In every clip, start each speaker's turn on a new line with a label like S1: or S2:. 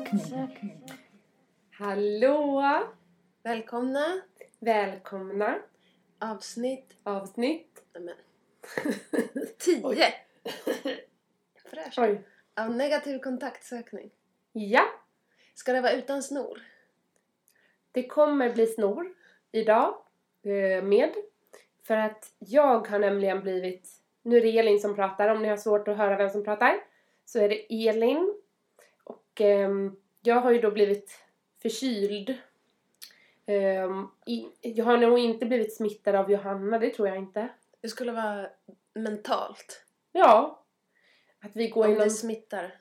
S1: Okej.
S2: Hallå!
S3: Välkomna
S2: Välkomna
S3: avsnitt
S2: avsnitt.
S3: nej men, 10 Fräscht.
S2: Oj.
S3: av negativ kontaktsökning.
S2: Ja,
S3: Ska det vara utan snor?
S2: det kommer bli snor idag eh, med. För att jag har nämligen blivit, nu är det Elin som pratar, om ni har svårt att höra vem som pratar så är det Elin. Och ehm, jag har ju då blivit förkyld. Ehm, i, jag har nog inte blivit smittad av Johanna, det tror jag inte.
S3: Det skulle vara mentalt.
S2: Ja, att vi går
S3: Om
S2: inom...
S3: det smittar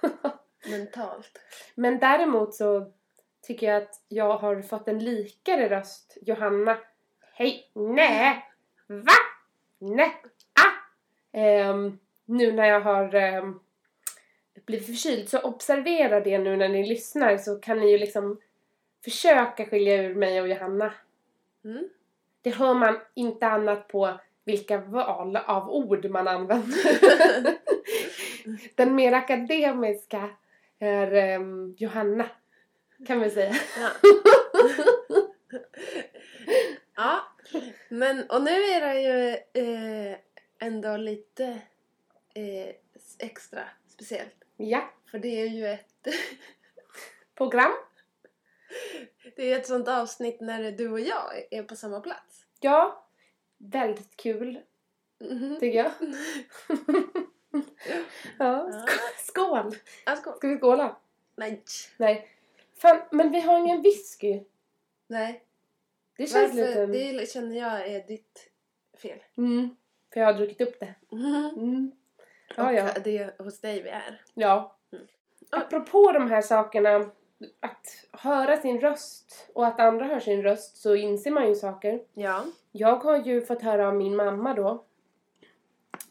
S3: mentalt.
S2: Men däremot så tycker jag att jag har fått en likare röst. Johanna. Hej! Nej! Va? Nej! Ah! Ehm, nu när jag har ehm, blivit förkyld så observera det nu när ni lyssnar så kan ni ju liksom försöka skilja ur mig och Johanna.
S3: Mm.
S2: Det hör man inte annat på vilka val av ord man använder. Den mer akademiska är ehm, Johanna, kan vi säga.
S3: Ja. ja. Men, och nu är det ju eh, ändå lite eh, extra speciellt.
S2: Ja,
S3: För det är ju ett,
S2: program.
S3: det är ett sånt avsnitt när du och jag är på samma plats.
S2: Ja, väldigt kul
S3: Mhm.
S2: tycker jag. ja,
S3: Ja.
S2: sk- skål!
S3: Ja, skål.
S2: Ska vi skåla?
S3: Nej.
S2: Nej. Fan, men vi har ingen whisky.
S3: Nej.
S2: Det känns
S3: Varför?
S2: lite...
S3: Det känner jag är ditt fel.
S2: Mm, för jag har druckit upp det.
S3: Mm-hmm.
S2: Mm. Ja,
S3: Och
S2: ja.
S3: det är hos dig vi är.
S2: Ja. Apropå de här sakerna, att höra sin röst och att andra hör sin röst så inser man ju saker.
S3: Ja.
S2: Jag har ju fått höra av min mamma då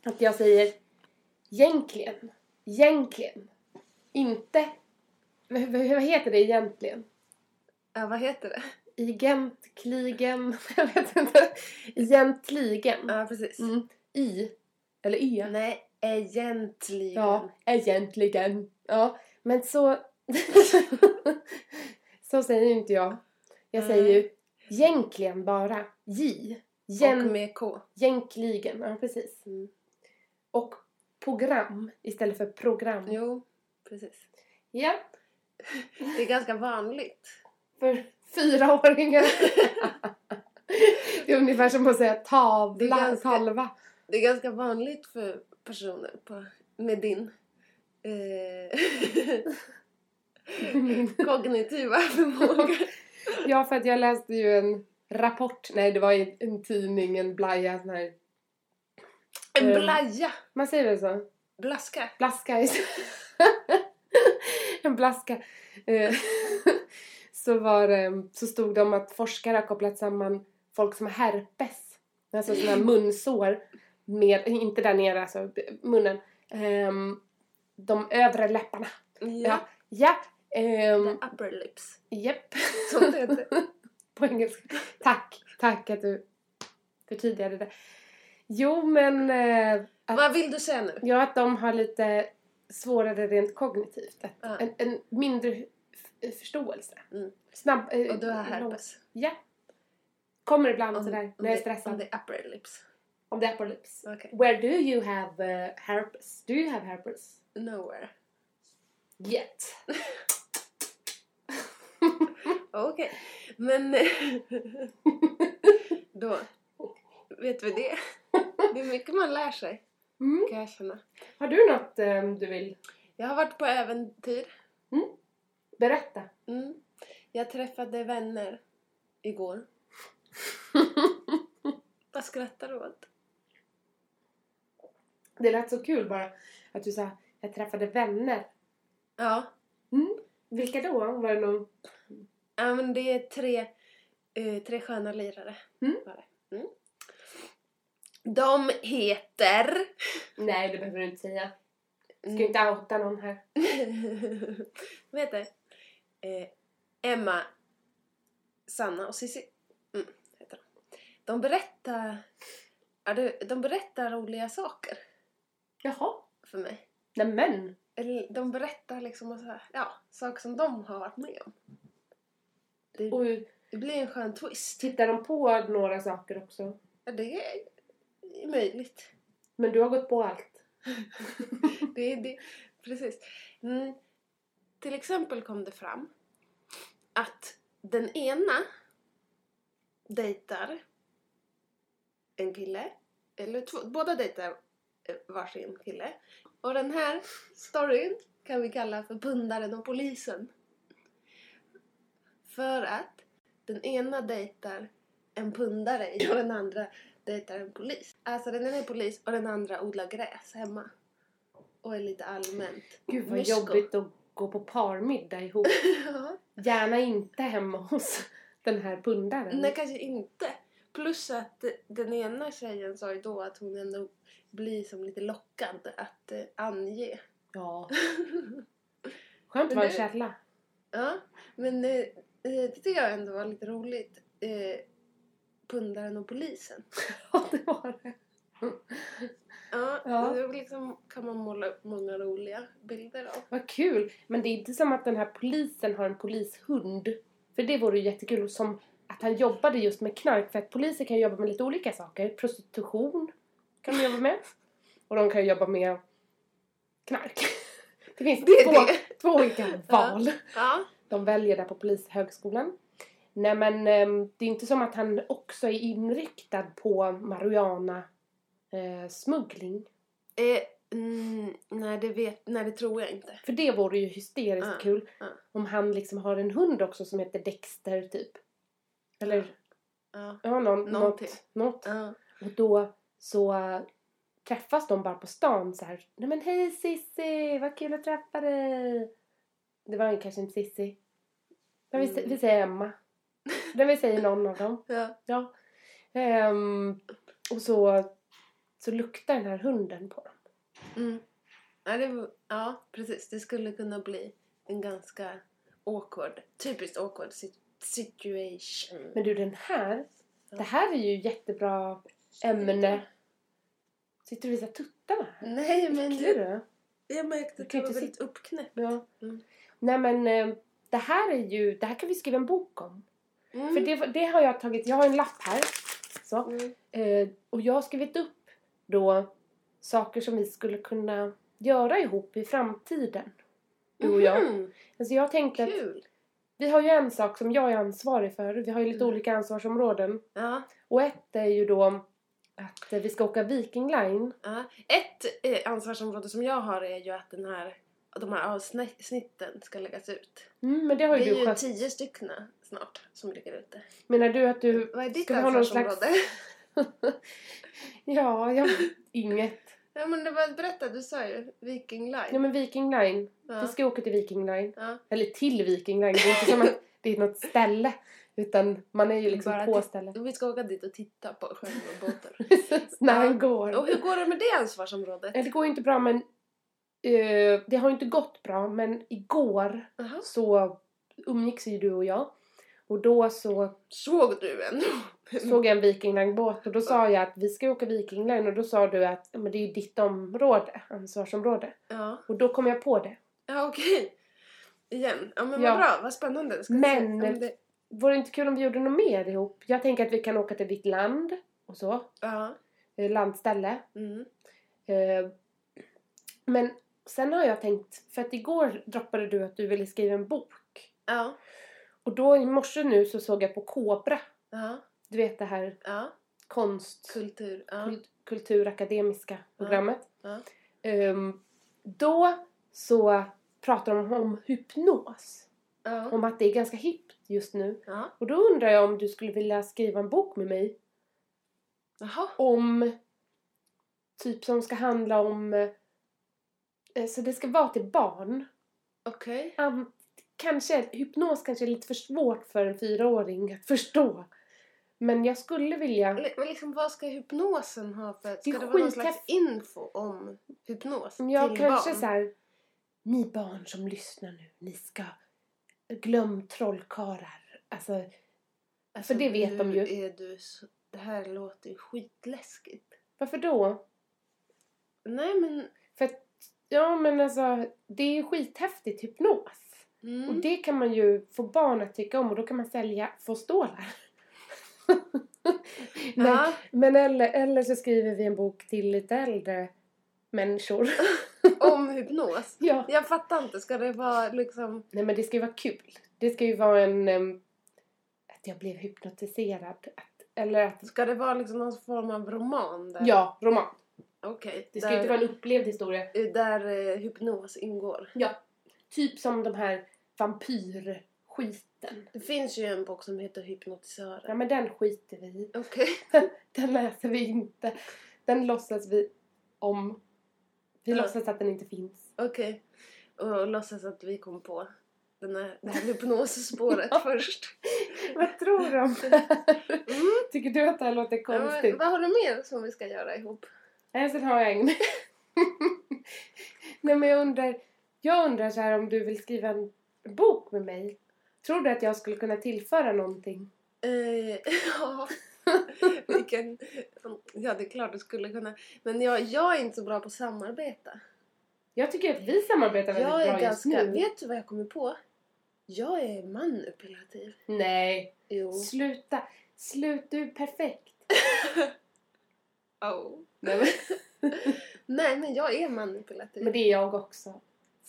S2: att jag säger egentligen, egentligen, inte, v- v- vad heter det egentligen?
S3: ja vad heter det?
S2: Egentligen, jag vet inte, egentligen,
S3: Ja, precis.
S2: mm. i, eller e.
S3: Nej, egentligen.
S2: Ja, egentligen. Ja, men så... så säger ju inte jag. Jag
S3: Nej.
S2: säger ju egentligen bara J.
S3: Och
S2: Gen,
S3: med K.
S2: egentligen, ja precis.
S3: Mm.
S2: Och program istället för program.
S3: Jo, precis.
S2: Ja,
S3: Det är ganska vanligt.
S2: för fyraåringar. det är ungefär som att säga
S3: Det är
S2: tavla,
S3: ganska-
S2: talva.
S3: Det är ganska vanligt för personer på, med din eh, kognitiva förmåga.
S2: Ja, för att jag läste ju en rapport. Nej, det var i en tidning, en blaja. sån här-
S3: En
S2: Mm.
S3: blaja!
S2: Man säger väl så?
S3: Blaska.
S2: blaska. i- en blaska. Eh, så, var, det- så stod det om att forskare har kopplat samman folk som har herpes, alltså sådana här munsår, med, inte där nere, alltså b- munnen, ehm, de övre läpparna.
S3: Ja.
S2: Ja. Ja, ehm,
S3: The upper lips.
S2: japp,
S3: Som det heter.
S2: på engelska. Tack, tack att du förtydligade det. Jo men, eh, att-
S3: Vad vill du säga nu?
S2: Ja, att de har lite svårare rent kognitivt. Att
S3: Ja.
S2: en, en mindre f- eh, förståelse.
S3: Mm.
S2: Snabb, eh,
S3: Och du har
S2: lång-
S3: herpes.
S2: Ja. Kommer ibland
S3: Om-
S2: sådär
S3: om
S2: när jag är
S3: det-
S2: stressad.
S3: Om det är upper lips.
S2: Om det är på lips.
S3: Okej.
S2: Where do you have eh, herpes? Do you have herpes?
S3: Nowhere.
S2: Yet.
S3: Okej. Men... då vet vi det. Det är mycket man lär sig,
S2: Mm.
S3: kan jag känna.
S2: Har du något eh, du vill
S3: Jag har varit på äventyr.
S2: berätta?
S3: Mm. Jag träffade vänner igår. Vad skrattar du åt?
S2: det lät så kul bara att du sa jag träffade vänner.
S3: Ja,
S2: Vilka då? Var det någon?
S3: ja men det är tre, eh, tre sköna lirare.
S2: Mm.
S3: var det. Mm. De heter...
S2: Nej, det behöver du inte säga. Ska
S3: Mm.
S2: inte outa någon här.
S3: Vad heter eh, Emma, Sanna och Cissi. Mm, heter de. De berättar, ja, det- de berättar roliga saker
S2: Jaha.
S3: för mig.
S2: Nämen.
S3: Eller de berättar liksom och så här, ja, saker som de har varit med om. Det,
S2: Och
S3: det blir en skön twist.
S2: tittar de på några saker också?
S3: Ja, det är är möjligt.
S2: Men du har gått på allt?
S3: Det, är- det, precis. Mm. Till exempel kom det fram att den ena dejtar en kille, eller två, båda dejtar eh, varsin kille. Och den här storyn kan vi kalla för pundaren och polisen. För att den ena dejtar en pundare och den andra dejtar en polis. Alltså den ena är polis och den andra odlar gräs hemma. Och är lite allmänt.
S2: Gud vad
S3: mysko.
S2: jobbigt att gå på parmiddag ihop.
S3: Ja.
S2: Gärna inte hemma hos den här pundaren.
S3: Nej, kanske inte. Plus att eh, den ena tjejen sa ju då att hon ändå blir som lite lockad att eh, ange.
S2: Ja. Skönt att
S3: Men
S2: vara en
S3: det-
S2: källa.
S3: Ja, men eh, eh, det tycker jag ändå var lite roligt. Eh, pundaren och polisen.
S2: Ja, det var det.
S3: Ja,
S2: Ja.
S3: då liksom kan man måla upp många roliga bilder av.
S2: Vad kul! Men det är inte som att den här polisen har en polishund. För det vore ju jättekul som att han jobbade just med knark. För att poliser kan ju jobba med lite olika saker. Prostitution kan de jobba med. Och de kan ju jobba med knark. Det finns
S3: Det är
S2: två, två olika val
S3: Ja,
S2: de väljer där på polishögskolan. Nej men ehm, det är inte som att han också är inriktad på marijuana eh, smuggling.
S3: eh, mm, nej, det vet, nej, det tror jag inte.
S2: För det vore ju hysteriskt
S3: Ja,
S2: kul
S3: ja.
S2: om han liksom har en hund också som heter Dexter typ. Eller
S3: Ja.
S2: ja, någon,
S3: Någonting.
S2: något. något.
S3: Ja.
S2: Och då så eh, träffas de bara på stan så här. Nej men hej Sissi, vad kul att träffa dig. Det var ju kanske inte Sissi. Men vi, sä-
S3: Mm.
S2: vi säger Emma. Det vi säger någon av dem.
S3: Ja.
S2: Ja. Ehm, och så, så luktar den här hunden på dem.
S3: Mm. Ja, det, var- ja, precis. Det skulle kunna bli en ganska awkward, typiskt awkward sit- situation.
S2: Men du den här, det här är ju jättebra ämne. Sitter du och visar tuttarna här?
S3: Nej, men
S2: Äcklig
S3: det,
S2: du?
S3: jag märkte att
S2: kan
S3: det
S2: ju
S3: var
S2: inte
S3: väldigt uppknäppt.
S2: Ja.
S3: Mm.
S2: Nej men eh, det här är ju, det här kan vi skriva en bok om.
S3: Mm.
S2: För det, det har jag tagit, jag har en lapp här. Så.
S3: Mm.
S2: Eh, och jag har skrivit upp då saker som vi skulle kunna göra ihop i framtiden. Du och jag.
S3: Mhm,
S2: Alltså jag tänkte att
S3: Kul!
S2: Vi har ju en sak som jag är ansvarig för. Vi har ju lite
S3: Mm.
S2: olika ansvarsområden.
S3: Ja,
S2: Och ett är ju då att eh, vi ska åka Viking Line.
S3: ja. Ett eh, ansvarsområde som jag har är ju att den här, de här avsnitten ska läggas ut.
S2: Mm, men det har ju
S3: Det är
S2: du
S3: ju
S2: skött.
S3: tio stycken snart som ligger ute.
S2: Menar du att du...
S3: Vad är ditt
S2: Ska vi ha någon slags-
S3: ansvarsområde?
S2: Ja, jag... Inget.
S3: Ja men det var berätta, du sa ju Viking Line.
S2: Ja men Viking Line.
S3: ja.
S2: Vi ska åka till Viking Line.
S3: Ja.
S2: Eller till Viking Line. Det är inte som att det är något ställe. Utan man är ju liksom
S3: Bara
S2: på
S3: till-
S2: stället.
S3: Vi ska åka dit och titta på sjön och båten.
S2: När han
S3: och
S2: går.
S3: hur går det med det ansvarsområdet?
S2: Eh, Det går ju inte bra men... eh, det har ju inte gått bra men igår
S3: Jaha.
S2: så umgicks ju du och jag. Och då så
S3: Såg du en?
S2: såg jag en Viking Line-båt och då sa jag att vi ska åka Viking Line och då sa du att "Ja, men det är ju ditt område, ansvarsområde.
S3: Ja,
S2: Och då kom jag på det.
S3: ja okej. Igen. Ja men
S2: Ja.
S3: vad bra, vad spännande. Jag Ska
S2: Men-
S3: se om det...
S2: Vore det inte kul om vi gjorde något mer ihop? Jag tänker att vi kan åka till ditt land och så.
S3: Ja.
S2: eh, Landställe.
S3: Mm.
S2: Eh, Men sen har jag tänkt, för att igår droppade du att du ville skriva en bok.
S3: Ja.
S2: Och då i morse nu så såg jag på Kobra.
S3: Ja.
S2: Du vet det här
S3: Ja.
S2: konst...
S3: Kultur. Ja.
S2: kul- kulturakademiska programmet.
S3: Ja.
S2: Ehm, då så pratar de om hypnos.
S3: Ja.
S2: Om att det är ganska hippt just nu.
S3: Ja.
S2: Och då undrar jag om du skulle vilja skriva en bok med mig
S3: Jaha.
S2: om typ som ska handla om eh, så det ska vara till barn.
S3: Okej.
S2: An- kanske, hypnos kanske är lite för svårt för en fyraåring att förstå. Men jag skulle vilja...
S3: Li- Men liksom vad ska hypnosen ha för... Ska
S2: Det
S3: det,
S2: är
S3: vara någon
S2: skitkass-
S3: slags info om hypnos
S2: Men Jag
S3: till
S2: kanske
S3: barn?
S2: så här, ni barn som lyssnar nu, ni ska glöm trollkarlar. Alltså,
S3: Alltså,
S2: för det vet de
S3: nu
S2: ju.
S3: Är du så... Det här låter ju skitläskigt.
S2: varför då?
S3: Nej men
S2: För att Ja men alltså det är ju skithäftigt hypnos.
S3: Mm.
S2: Och det kan man ju få barn att tycka om och då kan man sälja få stålar. Nej,
S3: Ja.
S2: men eller, eller så skriver vi en bok till lite äldre människor.
S3: Om hypnos.
S2: ja.
S3: Jag fattar inte, ska det vara liksom...
S2: Nej men det ska ju vara kul. Det ska ju vara en... em, att jag blev hypnotiserad. Att, eller att...
S3: Ska det vara liksom någon form av roman där?
S2: Ja, roman.
S3: Okej.
S2: Det ska
S3: där-
S2: ju inte vara en upplevd historia.
S3: Där eh, hypnos ingår.
S2: Ja. Typ som de här vampyrskiten.
S3: Det finns ju en bok som heter
S2: Ja
S3: Hypnotisören.
S2: men den skiter vi i.
S3: Okej.
S2: Den läser vi inte. Den låtsas vi om. Vi
S3: Ja.
S2: låtsas att den inte finns.
S3: Okej. Och låtsas att vi kom på den här, det här hypnosspåret först.
S2: Vad tror du om det här?
S3: Mm.
S2: Tycker du att det här låter
S3: Ja,
S2: konstigt?
S3: Men, vad har du mer som vi ska göra ihop?
S2: Nej, sen har jag ingen. Nej, men jag undrar, jag undrar så här om du vill skriva en bok med mig. Tror du att jag skulle kunna tillföra någonting?
S3: Eh, ja. Vilken... Ja, det är klart du skulle kunna. Men jag, jag är inte så bra på att samarbeta.
S2: Jag tycker att vi samarbetar väldigt
S3: Jag är
S2: bra just
S3: ganska...
S2: nu.
S3: Vet du vad jag kommer på? Jag är manipulativ.
S2: Nej,
S3: Jo.
S2: sluta. Sluta, du är perfekt.
S3: Oh.
S2: Nej, men,
S3: Nej, men jag är manipulativ.
S2: men det är jag också.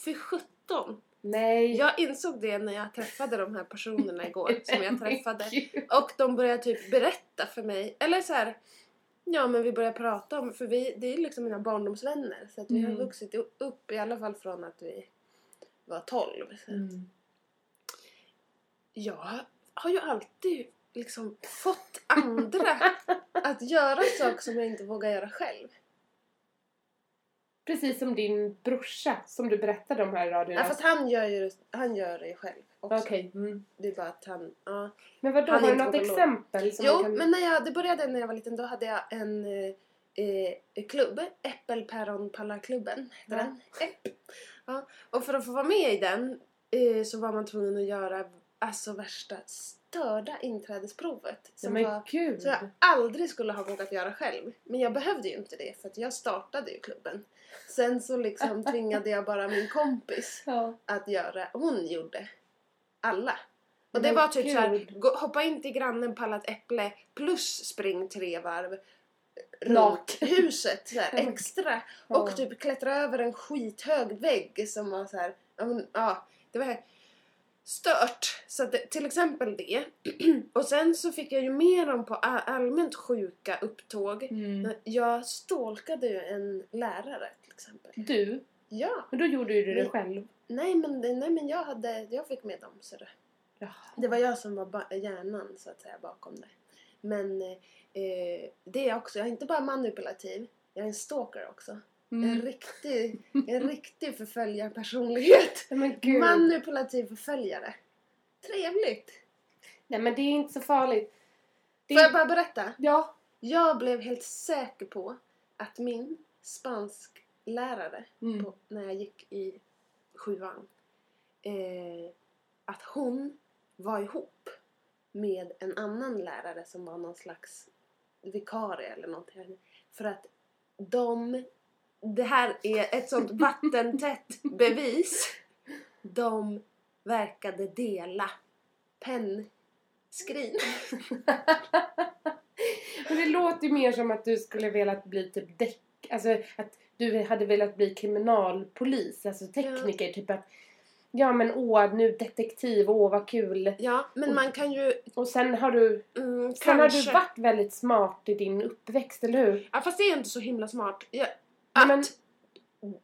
S3: Fy sjutton!
S2: Nej.
S3: Jag insåg det när jag träffade de här personerna igår som jag träffade.
S2: Gud.
S3: Och de började typ berätta för mig, eller så här. Ja men vi började prata om, för vi, det är liksom mina barndomsvänner så att vi har
S2: Mm.
S3: vuxit i- upp i alla fall från att vi var 12. Så
S2: Mm.
S3: Jag har ju alltid liksom fått andra att göra saker som jag inte vågar göra själv.
S2: Precis som din brorsa som du berättade om här i radion.
S3: Ja, fast han gör ju han gör det ju själv också.
S2: Okej. Mm.
S3: Det är bara att han, ja.
S2: Men vadå,
S3: Han är
S2: har du
S3: inte
S2: något
S3: psykolog.
S2: exempel? Som
S3: Jo,
S2: vi kan...
S3: men när jag, det började när jag var liten, då hade jag en eh, eh, klubb, Äppelpäronpallaklubben hette
S2: Ja.
S3: den. Äpp. Ja. Och för att få vara med i den eh, så var man tvungen att göra alltså värsta störda inträdesprovet.
S2: Nej,
S3: Som
S2: men
S3: var,
S2: gud.
S3: så jag aldrig skulle ha vågat göra själv. Men jag behövde ju inte det för att jag startade ju klubben. Sen så liksom tvingade jag bara min kompis
S2: Ja.
S3: att göra. Hon gjorde alla. Och det
S2: Men
S3: var typ
S2: gud.
S3: såhär, gå- hoppa in till grannen, palla ett äpple plus spring tre varv runt
S2: Naken.
S3: huset såhär,
S2: Ja, men-
S3: extra.
S2: Ja.
S3: Och typ klättra över en skithög vägg som var såhär, ja, men, ja det var stört. Så att det, till exempel det. Och sen så fick jag ju med dem på all- allmänt sjuka upptåg.
S2: Mm.
S3: Jag stalkade ju en lärare till exempel.
S2: Du,
S3: Ja,
S2: men då gjorde ju du det
S3: Nej.
S2: själv.
S3: nej men, nej, men jag, hade, jag fick med dem så det.
S2: Jaha.
S3: Det var jag som var ba- hjärnan så att säga bakom det. Men eh, eh, det är jag också. Jag är inte bara manipulativ. Jag är en stalker också. En
S2: Mm.
S3: riktig, en riktig förföljarpersonlighet.
S2: Nej, Men gud.
S3: Manipulativ förföljare. Trevligt!
S2: Nej men det är inte så farligt. Det
S3: Får
S2: är...
S3: jag bara berätta?
S2: Ja.
S3: Jag blev helt säker på att min spansk lärare
S2: Mm.
S3: på, när jag gick i sjuan. Eh, att hon var ihop med en annan lärare som var någon slags vikarie eller någonting. För att de, det här är ett sånt vattentätt bevis. De verkade dela pennskrin.
S2: Men det låter ju mer som att du skulle velat bli typ däck... Alltså att du hade velat bli kriminalpolis, alltså tekniker. Typ att ja men åh nu detektiv, åh vad kul.
S3: Ja, men man kan ju
S2: Och sen har du...
S3: mm,
S2: Sen har
S3: kanske...
S2: du varit väldigt smart i din uppväxt, eller hur?
S3: Ja, fast det är inte så himla smart. Jag,
S2: Nej,
S3: att
S2: men-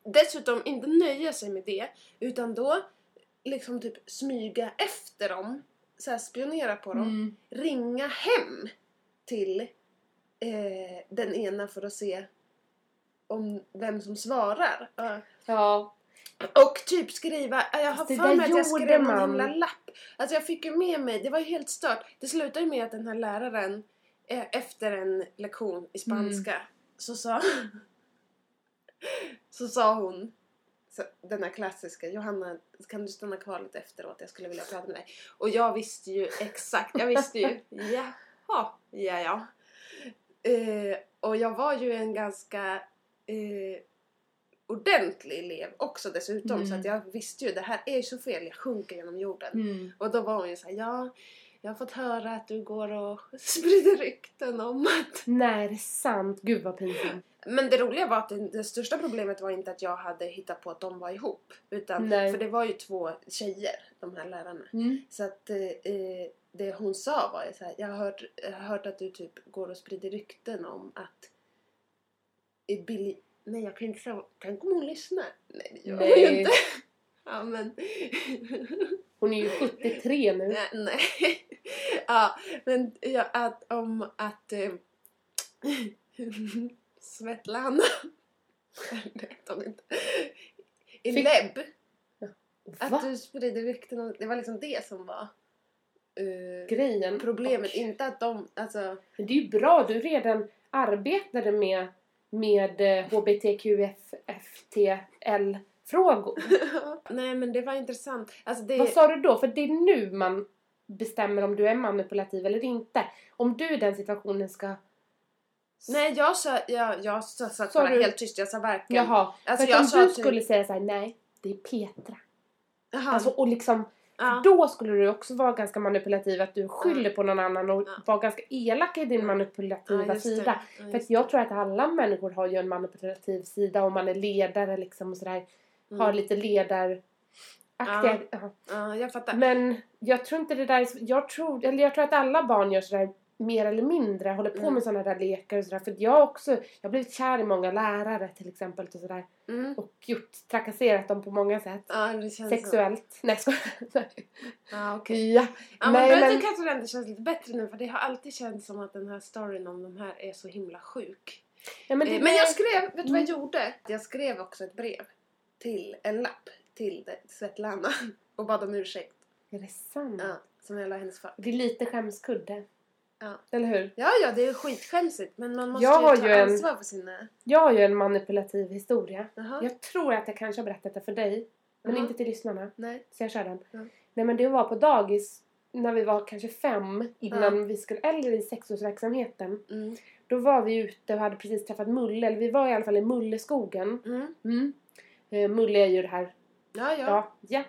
S3: dessutom inte nöja sig med det, utan då liksom typ smyga efter dem, så här spionera på dem,
S2: Mm.
S3: ringa hem till eh, den ena för att se om vem som svarar. Ja.
S2: Ja.
S3: Och typ skriva, ja, jag har
S2: Fast det
S3: för mig
S2: där
S3: att jag skrev
S2: gjorde
S3: någon
S2: man.
S3: himla lapp. Alltså jag fick ju med mig, det var ju helt stört. Det slutade ju med att den här läraren eh, efter en lektion i spanska
S2: Mm.
S3: så sa så sa hon så, den här klassiska Johanna kan du stanna kvar lite efteråt jag skulle vilja prata med dig. Och jag visste ju exakt, jag visste ju jaha, ja ja. Eh, och jag var ju en ganska eh, ordentlig elev också dessutom så
S1: Mm.
S3: att jag visste ju det här är ju så fel, jag sjunker genom jorden.
S1: Mm.
S3: Och då var hon ju såhär, ja, jag har fått höra att du går och sprider rykten om att...
S2: Nej, det är sant. Gud vad pinsamt.
S3: Men det roliga var att det, det största problemet var inte att jag hade hittat på att de var ihop. Utan,
S2: Nej.
S3: för det var ju två tjejer, de här lärarna.
S1: Mm.
S3: Så att eh, eh, det hon sa var ju så här, jag har hört, jag har hört att du typ går och sprider rykten om att eh, Billy... Nej, jag kan inte säga... Tänk om hon lyssnar? Nej, det gör hon ju
S2: Nej.
S3: inte. Ja, men...
S2: Hon är ju 73 nu.
S3: Nej, Eh, nej. Ja, men ja, att, om att eh, Svetlana... Nej, de inte. Ileb. Att
S2: Va?
S3: du sprider rykten om... Det var liksom det som var eh,
S2: Grejen.
S3: problemet.
S2: Och,
S3: Inte att de... Alltså,
S2: men det är ju bra. Du redan arbetade med, med eh, HBTQFTL-frågor.
S3: nej, men det var intressant. Alltså, det...
S2: Vad sa du då? För det är nu man bestämmer om du är manipulativ eller inte. Om du i den situationen ska...
S3: Nej, jag sa... Jag, jag sa, satt
S2: Sa
S3: bara
S2: du-
S3: helt tyst. Jag sa verkligen...
S2: Jaha.
S3: Alltså,
S2: för att
S3: jag
S2: om
S3: sa
S2: du
S3: typ-
S2: skulle säga så här: nej, det är Petra.
S3: Jaha,
S2: Alltså, och liksom,
S3: ja.
S2: då skulle du också vara ganska manipulativ. Att du skyller på någon annan och
S3: Ja.
S2: vara ganska elak i din
S3: Ja,
S2: manipulativa
S3: just det.
S2: sida.
S3: Ja,
S2: För
S3: just
S2: att jag tror att alla människor har ju en manipulativ sida om man är ledare liksom och sådär.
S3: det.
S2: Har
S3: Mm.
S2: lite ledaraktiga... Ja.
S3: Ja, jag fattar.
S2: Men jag tror inte det där är så- jag tror, eller jag tror att alla barn gör sådär mer eller mindre, håller på
S3: Mm.
S2: med sådana där lekar och sådär. För att jag också, jag har blivit kär i många lärare till exempel och sådär.
S3: Mm.
S2: Och gjort, trakasserat dem på många sätt.
S3: Ja, det känns så.
S2: Sexuellt. Nej skojar.
S3: Ja, okej.
S2: Ja.
S3: Ja, men
S2: Nej,
S3: då
S2: men-
S3: kanske det ändå känns lite bättre nu för det har alltid känts som att den här storyn om de här är så himla sjuk.
S2: ja
S3: Men,
S2: men, det, Mm.
S3: eh, men jag skrev, vet du vad jag gjorde? Jag skrev också ett brev till, en lapp till det- Svetlana och bad om ursäkt.
S2: Är det sant?
S3: Ja, som jag la hennes för.
S2: Det är lite skämskudde.
S3: Ja.
S2: Eller hur?
S3: Ja, ja, det är skitskämsigt men man måste
S2: Jag har
S3: ju ta
S2: ju en-
S3: ansvar för sina...
S2: Jag har ju en manipulativ historia.
S3: Jaha,
S2: Jag tror att jag kanske har berättat det för dig. Men
S3: Jaha.
S2: inte till lyssnarna.
S3: nej.
S2: Så jag kör den.
S3: Ja.
S2: Nej men det var på dagis när vi var kanske fem innan vi skulle, eller i sexårsverksamheten.
S3: Mm,
S2: Då var vi ute och hade precis träffat Mulle, eller vi var i alla fall i Mulleskogen.
S3: mm.
S2: Eh, Mulle är ju det här,
S3: Ja, ja,
S2: ja, ja,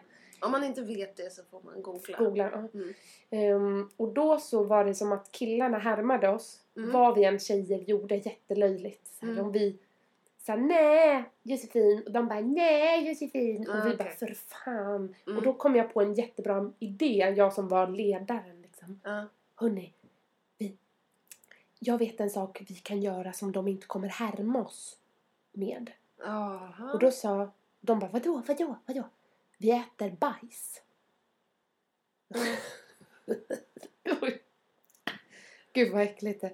S3: Om man inte vet det så får man googla.
S2: skolan. ja.
S3: Mm.
S2: Ehm, och då så var det som att killarna härmade oss.
S3: Mm.
S2: Vad vi än tjejer gjorde jättelöjligt. Såhär,
S3: Mm.
S2: Om vi sa nej Josefin och de bara nej Josefin
S3: Ah,
S2: och vi
S3: okej.
S2: bara för fan.
S3: Mm.
S2: Och då kom jag på en jättebra idé, jag som var ledaren liksom.
S3: Ja.
S2: Hörrni, vi, jag vet en sak vi kan göra som de inte kommer härma oss med.
S3: Mm. Jaha.
S2: Och då sa de bara vadå, vadå, vadå? Vi äter bajs. Oj. Gud vad äckligt det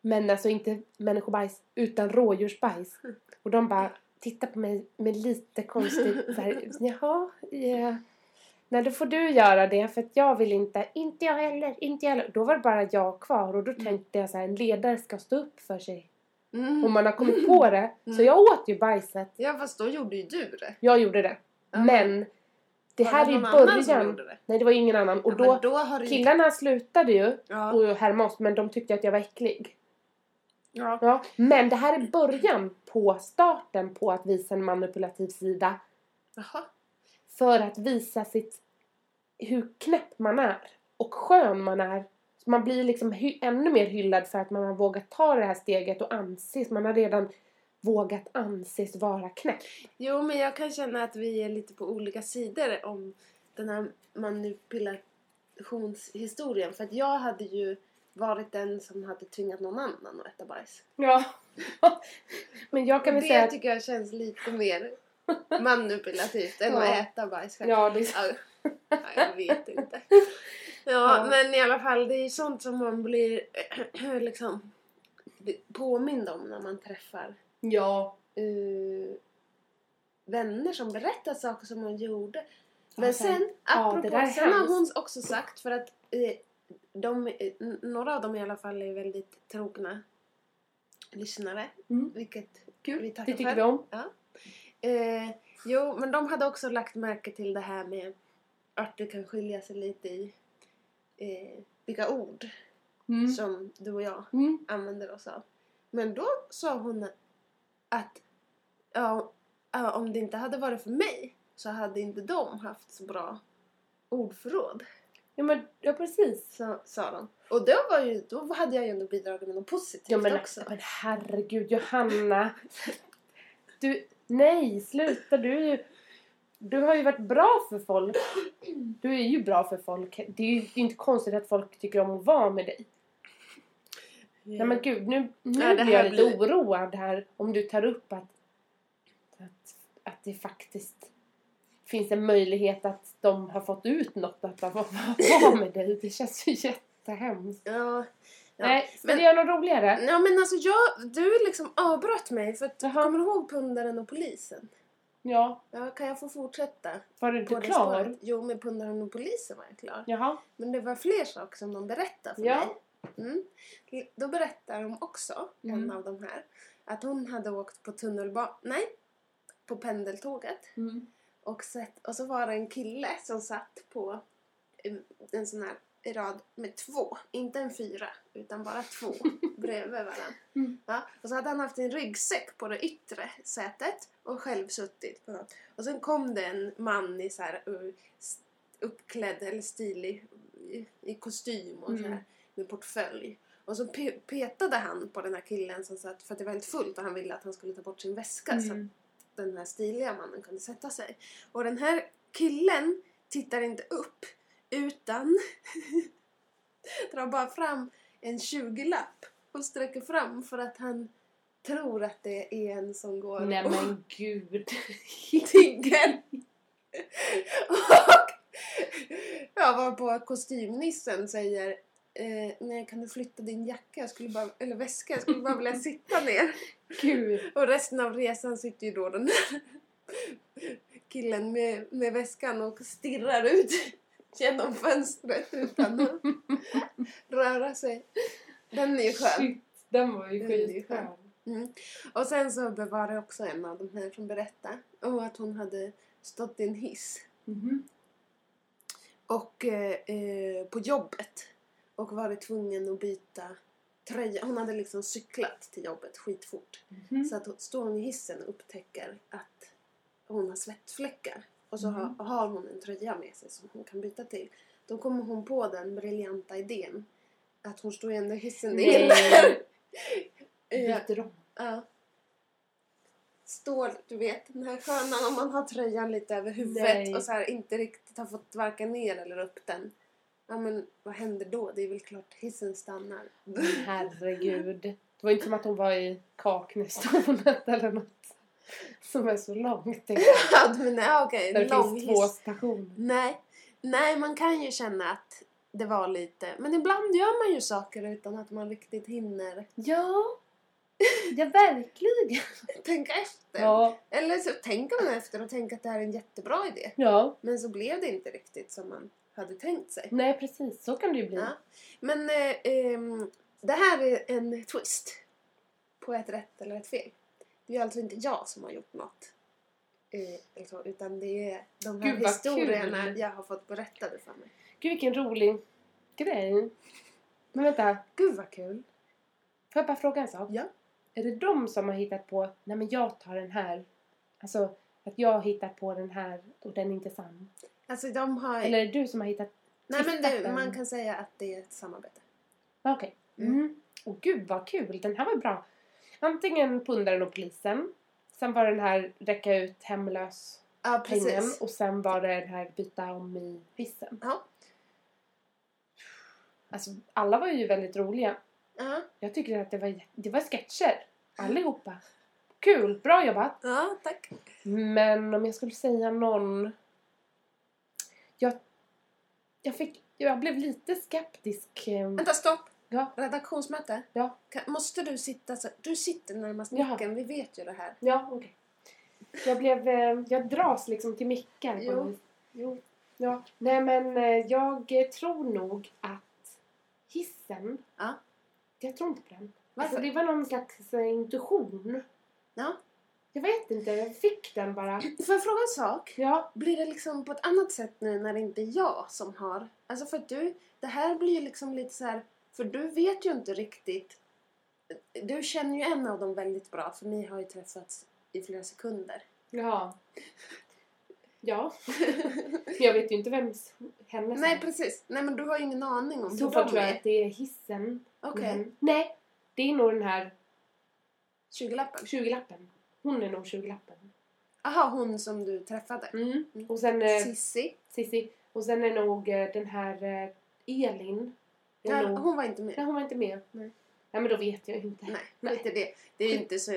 S2: Men alltså inte människobajs utan rådjursbajs. Och de bara tittar på mig med lite konstigt så här, jaha, yeah. Nej då får du göra det för att jag vill inte, inte jag heller, inte jag heller. Då var det bara jag kvar och då tänkte jag så här, en ledare ska stå upp för sig.
S3: Mm.
S2: Och man har kommit på det. Så
S3: Mm.
S2: jag åt ju bajset.
S3: Ja, fast då gjorde ju du det.
S2: Jag gjorde det.
S3: Ja.
S2: Men det
S3: Var
S2: här är
S3: det
S2: ju
S3: någon annan som
S2: början.
S3: gjorde det?
S2: Nej det var ingen annan. Och
S3: Ja, men
S2: då,
S3: då har du ju-
S2: killarna slutade ju
S3: Ja.
S2: och härma oss men de tyckte att jag var äcklig.
S3: Ja.
S2: Ja. Men det här är början på starten på att visa en manipulativ sida.
S3: Jaha.
S2: För att visa sitt, hur knäpp man är och skön man är. Så man blir liksom hy- ännu mer hyllad för att man har vågat ta det här steget och anses, man har redan vågat anses vara knäpp.
S3: Jo, men jag kan känna att vi är lite på olika sidor om den här manipulationshistorien. För att jag hade ju varit den som hade tvingat någon annan att äta bajs.
S2: Ja. men jag kan väl
S3: det typ
S2: säga att...
S3: tycker jag känns lite mer manipulativt än
S2: Ja.
S3: att äta bajs själv.
S2: Ja, det är
S3: Ja, ja, jag vet inte. Ja,
S2: Ja.
S3: men i alla fall, det är ju sånt som man blir liksom påmind om när man träffar
S2: Ja.
S3: eh, vänner som berättar saker som hon gjorde.
S2: Ja,
S3: Men
S2: sen-
S3: sen,
S2: ja,
S3: apropå,
S2: det där är
S3: sen har
S2: hemskt.
S3: hon också sagt för att eh, de, eh, n- några av dem i alla fall är väldigt trogna lyssnare,
S2: Mm.
S3: vilket
S2: Kul.
S3: vi tackar
S2: Det tycker
S3: för.
S2: vi om.
S3: Eh, jo, men de hade också lagt märke till det här med att det kan skilja sig lite i eh, vilka ord
S2: Mm.
S3: som du och jag
S2: Mm.
S3: använder oss av. Men då sa hon att ja, ja, om det inte hade varit för mig så hade inte de haft så bra ordförråd,
S2: Ja, men, ja precis.
S3: sa, sa de. Och då, var ju, då hade jag ju ändå bidragit med något positivt
S2: Ja, men,
S3: också.
S2: men herregud, Johanna. Du, nej, sluta. Du är ju... Du har ju varit bra för folk. Du är ju bra för folk. Det är ju det är inte konstigt att folk tycker om att vara med dig. Nej men gud, nu, nu
S3: Ja, det
S2: blir jag
S3: här
S2: lite
S3: blir-
S2: oroad här om du tar upp att, att, att det faktiskt finns en möjlighet att de har fått ut något att vara vara med dig. Det känns ju jättehemskt.
S3: Ja, Ja,
S2: Nej, ska
S3: men-
S2: vi göra något roligare?
S3: ja men alltså jag, du liksom avbröt mig för att,
S2: Jaha.
S3: kommer du ihåg pundaren och polisen?
S2: Ja,
S3: Ja, kan jag få fortsätta?
S2: var du inte
S3: på det
S2: klar?
S3: spåret? Jo, med pundaren och polisen var jag klar.
S2: Jaha.
S3: Men det var fler saker som de berättade för
S2: Ja.
S3: mig. Mm. Då berättar de också, en
S2: Mm.
S3: av de här, att hon hade åkt på tunnelbanan, nej, på pendeltåget
S2: Mm.
S3: och sett, och så var det en kille som satt på en- en sån här rad med två, inte en fyra, utan bara två bredvid varandra.
S2: Mm.
S3: Ja, och så hade han haft en ryggsäck på det yttre sätet och själv suttit på något. Och sen kom det en man i så här uh, s- uppklädd eller stilig i, i kostym och så
S2: Mm.
S3: här med portfölj. Och så pe- petade han på den här killen som satt, för att det var helt fullt och han ville att han skulle ta bort sin väska så att
S2: Mm.
S3: den här stiliga mannen kunde sätta sig. Och den här killen tittar inte upp utan drar bara fram en 20-lapp och sträcker fram för att han tror att det är en som går
S2: Nej
S3: och
S2: men gud.
S3: tigger. och jag var på kostymnissen säger Eh, nej, kan du flytta din jacka? Jag skulle bara, eller väska? Jag skulle bara vilja sitta ner.
S2: gud.
S3: Och resten av resan sitter ju då den där killen med, med väskan och stirrar ut genom fönstret utan att röra sig. Den är ju skön.
S2: Shit, den var ju
S3: Den är ju
S2: skitskön.
S3: Mm. Och sen så var det också en av de här som berättade om att hon hade stått i en hiss
S2: Mhm.
S3: och eh, eh, på jobbet och varit tvungen att byta tröja. Hon hade liksom cyklat till jobbet skitfort.
S2: Mhm.
S3: Så att hon står hon i hissen och upptäcker att hon har svettfläckar och så
S2: Mm.
S3: har, har hon en tröja med sig som hon kan byta till. Då kommer hon på den briljanta idén att hon står ju ändå i hissen. Det
S2: Nej.
S3: innebär... Eh,
S2: Mm. Byter om.
S3: ja. Står, du vet, den här sköna om man har tröjan lite över huvudet
S2: Nej.
S3: och så här inte riktigt har fått varken ner eller upp den. Ja men vad händer då? Det är väl klart hissen stannar.
S2: Men Herregud. Det var inte som att hon var i Kaknästornet eller något. Som är så långt. tänker jag.
S3: Ja, men nej, okej,
S2: Där det
S3: lång
S2: finns två
S3: hiss.
S2: stationer.
S3: Nej. Nej, man kan ju känna att det var lite... Men ibland gör man ju saker utan att man riktigt hinner
S2: Ja. Ja, verkligen.
S3: tänka efter.
S2: Ja.
S3: Eller så tänker man efter och tänker att det här är en jättebra idé.
S2: Ja.
S3: Men så blev det inte riktigt som man hade tänkt sig.
S2: Nej, precis. Så kan det ju bli.
S3: Ja. Men eh, ehm, det här är en twist på ett rätt eller ett fel. Det är alltså inte jag som har gjort något. Eh, eller så, utan det är de här
S2: Gud, vad
S3: historierna
S2: kul.
S3: jag har fått berättade för mig.
S2: Gud, vilken rolig grej. Men vänta.
S3: Gud vad kul!
S2: Får jag bara fråga en sak?
S3: Ja.
S2: Är det de som har hittat på, nej men jag tar den här. Alltså, att jag hittar på den här och den är inte sann.
S3: Alltså de har...
S2: Eller är det du som har hittat,
S3: Nej men det,
S2: Titta.
S3: man kan säga att det är ett samarbete.
S2: Ja, okej.
S3: Mm.
S2: Mm. Åh gud vad kul, den här var bra. Antingen pundaren och polisen. Sen var det den här räcka ut hemlös
S3: Ja
S2: pengen
S3: precis.
S2: och sen var det den här byta om i hissen.
S3: Ja.
S2: Alltså alla var ju väldigt roliga.
S3: Ja,
S2: Jag tycker att det var, jä- det var sketcher. Allihopa. Kul, bra jobbat.
S3: ja tack.
S2: Men om jag skulle säga någon... Jag, jag, fick, jag blev lite skeptisk. eh,
S3: Vänta stopp!
S2: Ja.
S3: Redaktionsmöte.
S2: Ja.
S3: Kan, måste du sitta så? Du sitter närmast
S2: Jaha.
S3: micken, vi vet ju det här.
S2: Ja, okej. Jag blev... eh, Jag dras liksom till mickar. på
S3: Jo.
S2: något vis. Jo. Ja. Nej, men eh, jag eh, tror nog att hissen...
S3: Ja.
S2: Jag tror inte på den.
S3: Varför?
S2: Alltså, det var någon slags eh, intuition.
S3: Ja.
S2: Jag vet inte, jag fick den bara.
S3: Får jag fråga en sak?
S2: Ja.
S3: Blir det liksom på ett annat sätt nu när det inte är jag som har... Alltså för att du, det här blir ju liksom lite så här... För du vet ju inte riktigt... Du känner ju en av dem väldigt bra för ni har ju träffats i flera sekunder.
S2: Ja. Ja. Men jag vet ju inte vems hennes
S3: Nej precis, nej men du har ju ingen aning om
S2: Så
S3: hur
S2: då
S3: de
S2: tror jag
S3: är. Mm.
S2: att det är hissen.
S3: Okej,
S2: Men- Nej, det är nog den här
S3: 20-lappen.
S2: 20-lappen. Hon är nog 20-lappen.
S3: Aha, hon som du träffade.
S2: Mm.
S3: Mm.
S2: Och sen eh,
S3: Sissi.
S2: Sissi. Och sen är nog eh, den här eh, Elin. Är
S3: Ja,
S2: nog...
S3: hon var inte med.
S2: Nej, hon var inte med.
S3: Nej.
S2: Nej, men då vet jag ju inte.
S3: Nej,
S2: Nej.
S3: inte det. Det är ju inte så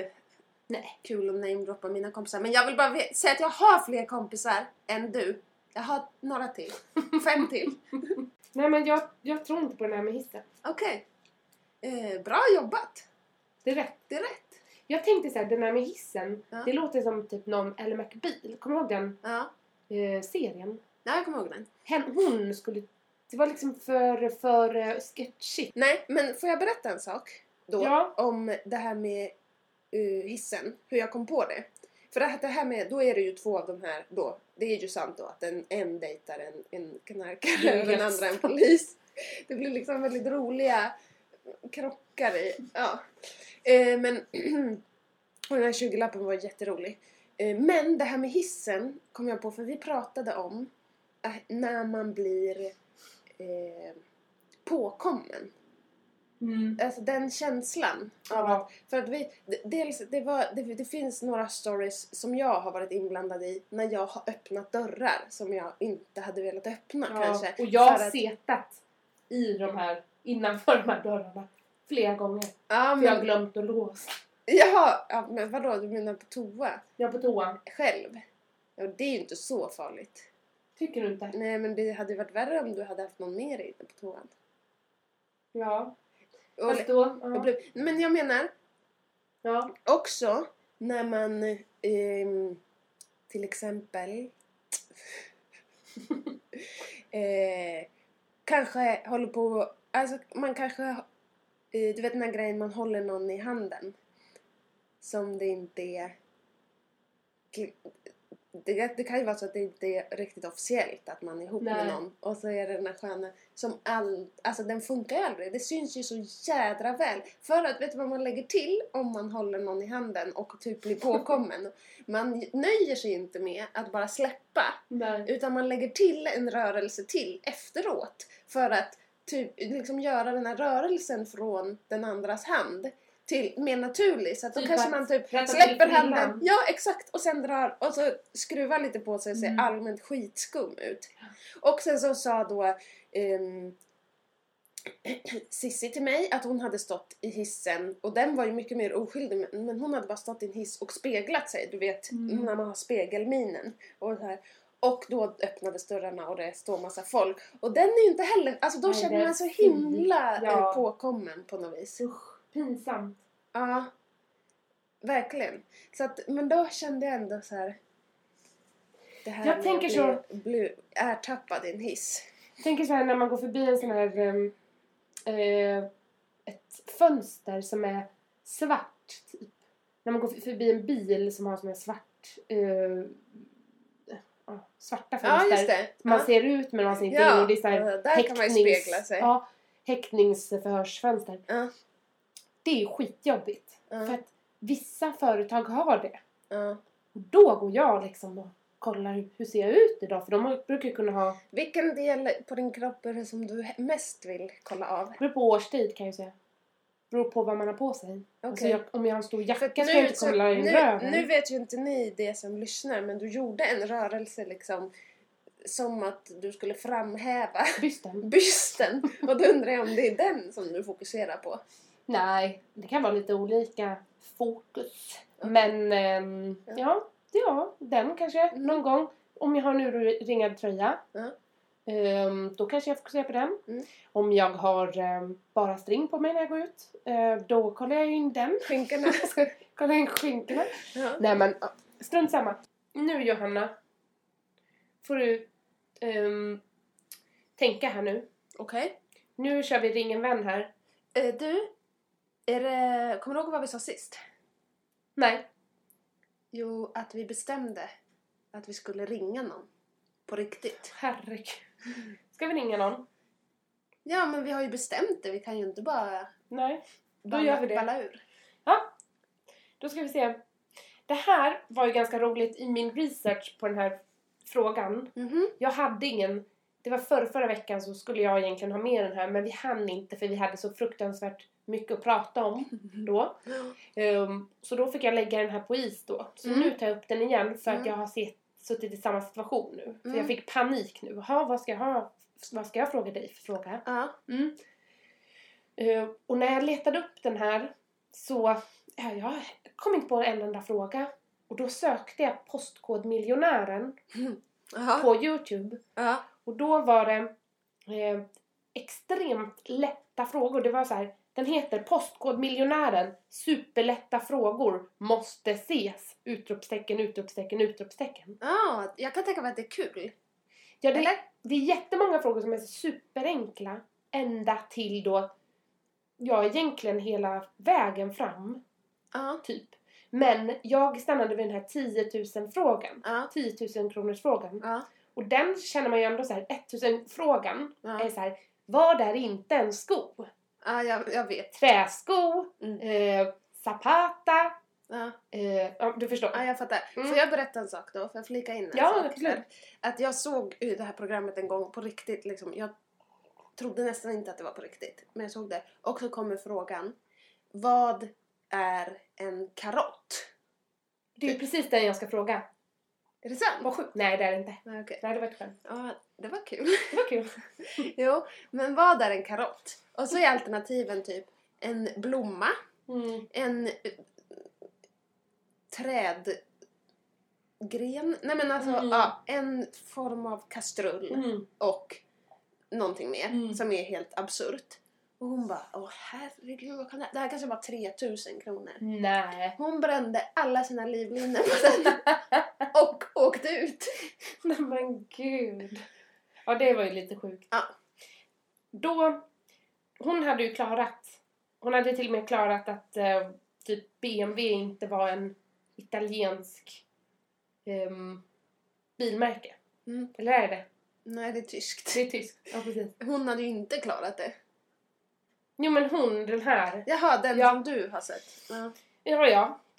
S2: Nej.
S3: kul att namedroppa mina kompisar. Men jag vill bara ve- säga att jag har fler kompisar än du. Jag har några till. Fem till.
S2: Nej, men jag, jag tror inte på den här med hissen.
S3: Okej. Eh, bra jobbat.
S2: Det är rätt.
S3: Det är rätt.
S2: Jag tänkte så här, den här med hissen.
S3: Ja.
S2: Det låter som typ någon Ellen McBeal. Kommer du ihåg den
S3: Ja,
S2: eh, serien?
S3: ja jag kommer ihåg den.
S2: Hen, hon skulle... Det var liksom för, för eh, sketchigt.
S3: Nej, men får jag berätta en sak då?
S2: Ja.
S3: Om det här med eh, hissen, hur jag kom på det. För det här- det här med, då är det ju två av de här då, det är ju sant då att en, en dejtar en, en
S2: Det är
S3: knarkare
S2: ju
S3: och den
S2: helt
S3: andra en polis. Det blir liksom väldigt roliga krockar i, ja. Eh, men, och den här 20-lappen var jätterolig. Eh, men det här med hissen kom jag på för vi pratade om eh, när man blir eh, påkommen.
S2: Mm.
S3: Alltså den känslan. Av
S2: Ja.
S3: att, för att vi, d- dels, det, var, det, det finns några stories som jag har varit inblandad i när jag har öppnat dörrar som jag inte hade velat öppna kanske.
S2: Och jag
S3: För
S2: har
S3: att-
S2: setat i de här, innanför de här dörrarna flera gånger.
S3: Ja,
S2: För jag har
S3: men,
S2: glömt att låsa.
S3: jaha, ja, men vadå, du menar på toa?
S2: Jag är på toan.
S3: Själv? Ja, det är ju inte så farligt.
S2: Tycker du inte?
S3: Nej, men det hade ju varit värre om du hade haft någon med dig inne på toan.
S2: Ja.
S3: Och,
S2: Fast då... Ja.
S3: och blev, men jag menar,
S2: ja.
S3: också när man ehm, till exempel eh, kanske håller på alltså man kanske eh, du vet den här grejen man håller någon i handen som det inte är det, det kan ju vara så att det inte är riktigt officiellt att man är ihop med
S2: Nej.
S3: någon och så är det den här sköna som all, alltså den funkar ju aldrig. Det syns ju så jädra väl. För att vet du vad man lägger till om man håller någon i handen och typ blir påkommen? Man nöjer sig inte med att bara släppa
S2: Nej.
S3: utan man lägger till en rörelse till efteråt för att typ liksom göra den här rörelsen från den andras hand till mer naturlig så att då
S2: Typ
S3: kanske
S2: att
S3: man typ
S2: rätta till
S3: släpper
S2: frillan.
S3: handen. Ja exakt och sen drar och så skruvar lite på sig och ser
S2: Mm.
S3: allmänt skitskum ut. Och sen så sa då ehm, Sissi till mig att hon hade stått i hissen och den var ju mycket mer oskyldig men- men hon hade bara stått i en hiss och speglat sig, du vet
S2: Mm.
S3: när man har spegelminen och så här. Och då öppnades dörrarna och det står massa folk. Och den är ju inte heller, alltså då
S2: Nej, det
S3: känner
S2: är
S3: man så himla
S2: fint. Ja.
S3: eh, påkommen på något vis.
S2: Usch. Pinsamt.
S3: Ja, verkligen. Så att, men då kände jag ändå så här. Det här
S2: Jag
S3: med
S2: tänker
S3: att bli, bli ertappad i en hiss.
S2: tänker så här när man går förbi en sån här... ehm, eh, ett fönster som är svart, typ. När man går f- förbi en bil som har sån här svart... eh, ja, svarta
S3: Ja,
S2: fönster.
S3: just det.
S2: Man
S3: ja.
S2: ser ut men man ser inte in
S3: Ja,
S2: och det är så här
S3: där kan man ju
S2: häktnings-
S3: spegla sig.
S2: Ja, häktningsförhörsfönster.
S3: Ja.
S2: Det är skitjobbigt.
S3: Ja.
S2: För att vissa företag har det.
S3: Ja.
S2: Och då går jag liksom och kollar hur- hur ser jag ut idag. För de har- brukar ju kunna ha,
S3: Vilken del på din kropp är det som du he- mest vill kolla av?
S2: det beror på årstid kan jag ju säga. Beror på vad man har på sig. Alltså
S3: Okej.
S2: jag, om jag har en stor
S3: För
S2: jacka
S3: att
S2: ska jag inte kolla i
S3: nu,
S2: röven.
S3: nu vet ju inte ni det som lyssnar men du gjorde en rörelse liksom som att du skulle framhäva
S2: Bysten.
S3: bysten och då undrar jag om det är den som du fokuserar på.
S2: Nej, det kan vara lite olika fokus. Men ehm,
S3: Ja.
S2: ja, ja, den kanske
S3: Mm.
S2: någon gång. Om jag har en urringad tröja,
S3: Ja.
S2: ehm, då kanske jag fokuserar på den.
S3: Mm.
S2: Om jag har ehm, bara string på mig när jag går ut, eh, då kollar jag in den.
S3: Skinkorna.
S2: kollar in skinkorna.
S3: Ja.
S2: Nej men, ja, strunt samma. Nu Johanna, får du ehm, tänka här nu.
S3: Okej.
S2: Nu kör vi ring en vän här.
S3: Eh, Du, är det, kommer du ihåg vad vi sa sist?
S2: Nej.
S3: Jo, att vi bestämde att vi skulle ringa någon. På riktigt.
S2: Herregud. Ska vi ringa någon?
S3: Ja, men vi har ju bestämt det. Vi kan ju inte bara
S2: Nej. Då
S3: balla-
S2: gör vi det.
S3: balla ur.
S2: Då ska vi se. Det här var ju ganska roligt i min research på den här frågan.
S3: Mhm.
S2: Jag hade ingen... Det var förra, förra veckan så skulle jag egentligen ha med den här men vi hann inte för vi hade så fruktansvärt mycket att prata om då. Ehm, så då fick jag lägga den här på is då. Så
S3: Mm.
S2: nu tar jag upp den igen för att
S3: Mm.
S2: jag har sett, suttit i samma situation nu. För
S3: Mm.
S2: jag fick panik nu. Jaha, vad ska jag ha? Vad ska jag fråga dig för fråga?
S3: Ja.
S2: Mm. Eh, och när jag letade upp den här så ja, jag kom inte på en enda fråga. Och då sökte jag postkodmiljonären
S3: Jaha.
S2: på Youtube.
S3: Ja.
S2: Och då var det eh, extremt lätta frågor. Det var så här, den heter Postkodmiljonären, superlätta frågor, måste ses! Utropstecken, utropstecken, utropstecken.
S3: Ja, jag kan tänka mig att det är kul.
S2: Ja, det,
S3: Eller?
S2: det är jättemånga frågor som är superenkla ända till då, ja egentligen hela vägen fram,
S3: Ja.
S2: typ. Men jag stannade vid den här 10 000 frågan.
S3: Ja.
S2: 10 000 kronors frågan.
S3: Ja.
S2: Och den känner man ju ändå så här, 1000 frågan är
S3: Ja.
S2: så här, vad är inte en sko?
S3: Ja, jag, jag vet.
S2: Träsko,
S3: Mm.
S2: eh, Zapata,
S3: Ja.
S2: eh, ja du förstår.
S3: Ja, jag fattar.
S2: Mm.
S3: Får jag berätta en sak då? Får jag flika in en
S2: Ja,
S3: sak?
S2: absolut.
S3: Att- Att jag såg ju det här programmet en gång på riktigt. Liksom. Jag trodde nästan inte att det var på riktigt. Men jag såg det. Och så kommer frågan. Vad är en karott?
S2: Det är ju precis den jag ska fråga.
S3: Är det sant?
S2: Vad sjukt. Nej det är det inte.
S3: Nej, okej.
S2: Nej det var ett skämt.
S3: Ja, det var kul.
S2: Det var kul.
S3: jo, men vad är en karott? Och så är alternativen typ en blomma,
S2: Mm.
S3: en eh, trädgren, nej men alltså
S2: Mm.
S3: ja, en form av kastrull.
S2: Mm.
S3: och någonting mer
S2: Mm.
S3: som är helt absurt. Och hon bara, åh herregud vad kan det här? Det här kanske var 3000 kronor.
S2: Nej.
S3: Hon brände alla sina livlinor på den och åkte ut.
S2: Nej men gud. Ja det var ju lite sjukt.
S3: Ja.
S2: Då, hon hade ju klarat, hon hade till och med klarat att eh, typ BMW inte var en italiensk ehm, bilmärke.
S3: Mm.
S2: Eller är det?
S3: Nej, det är tyskt.
S2: Det är tyskt. Ja precis.
S3: Hon hade ju inte klarat det.
S2: Jo men hon, den här.
S3: Jaha, den
S2: Ja.
S3: som du har sett. Ja.
S2: Ja ja.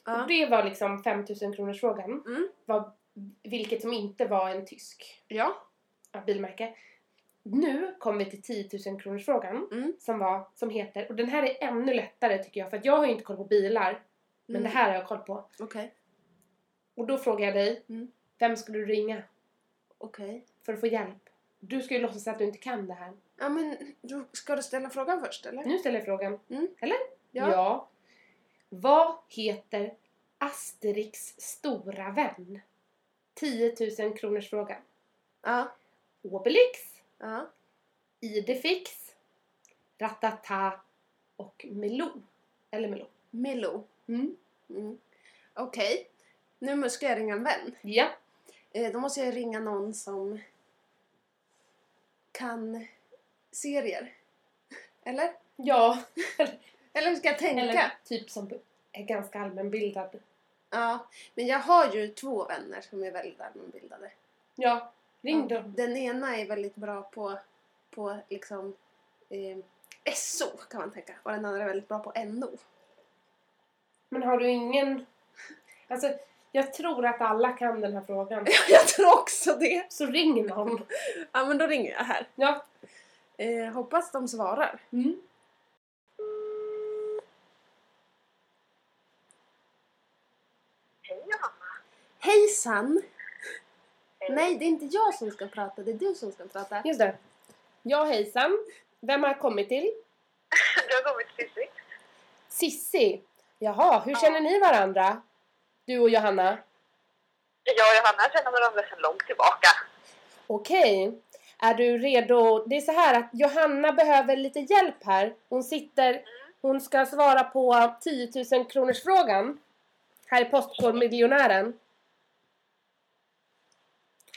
S3: Ja.
S2: Och det var liksom 5000 kronors frågan.
S3: Mm.
S2: Var, vilket som inte var en tysk
S3: ja.
S2: ja, bilmärke. Nu kom vi till 10 000 kronors frågan
S3: Mm.
S2: som, var, som heter, och den här är ännu lättare tycker jag för att jag har ju inte koll på bilar men
S3: Mm.
S2: det här har jag koll på.
S3: Okej.
S2: Och då frågar jag dig,
S3: Mm.
S2: vem skulle du ringa
S3: Okej.
S2: för att få hjälp? Du ska ju låtsas att du inte kan det här.
S3: Ja men, du, ska du ställa frågan först eller?
S2: Nu ställer jag frågan.
S3: Mm.
S2: Eller?
S3: Ja.
S2: Vad heter Asterix stora vän? 10 000 kronors fråga.
S3: Ja.
S2: Obelix,
S3: Ja.
S2: Idefix, Ratata och Melon. Eller Melon.
S3: Milo.
S2: Mm.
S3: Mm. Okej. Nu måste jag ringa en vän.
S2: Ja.
S3: Eh, Då måste jag ringa någon som kan serier. Eller?
S2: Ja.
S3: Eller ska jag tänka?
S2: Eller typ som är ganska allmänbildad.
S3: Ja, men jag har ju två vänner som är väldigt allmänbildade.
S2: Ja. Ring
S3: Ja,
S2: dem.
S3: Den ena är väldigt bra på, på liksom eh, SO kan man tänka och den andra är väldigt bra på NO.
S2: Men har du ingen... Alltså, jag tror att alla kan den här frågan.
S3: jag tror också det!
S2: Så ring någon.
S3: Ja, men då ringer jag här.
S2: Ja.
S3: Eh, hoppas de svarar.
S2: Mm.
S1: Hej Johanna!
S3: Hejsan!
S1: Hej.
S3: Nej, det är inte jag som ska prata, det är du som ska prata.
S2: Just det. Ja, hejsan. Vem har jag kommit till?
S1: Du har kommit till Sissi.
S2: Sissi. Jaha, hur känner ni varandra? Du och Johanna?
S1: Jag och Johanna känner varandra sedan långt tillbaka.
S2: Okej. Är du redo? Det är så här att Johanna behöver lite hjälp här. Hon sitter... Hon ska svara på 10 000 kronors frågan. Här är Postkodmiljonären.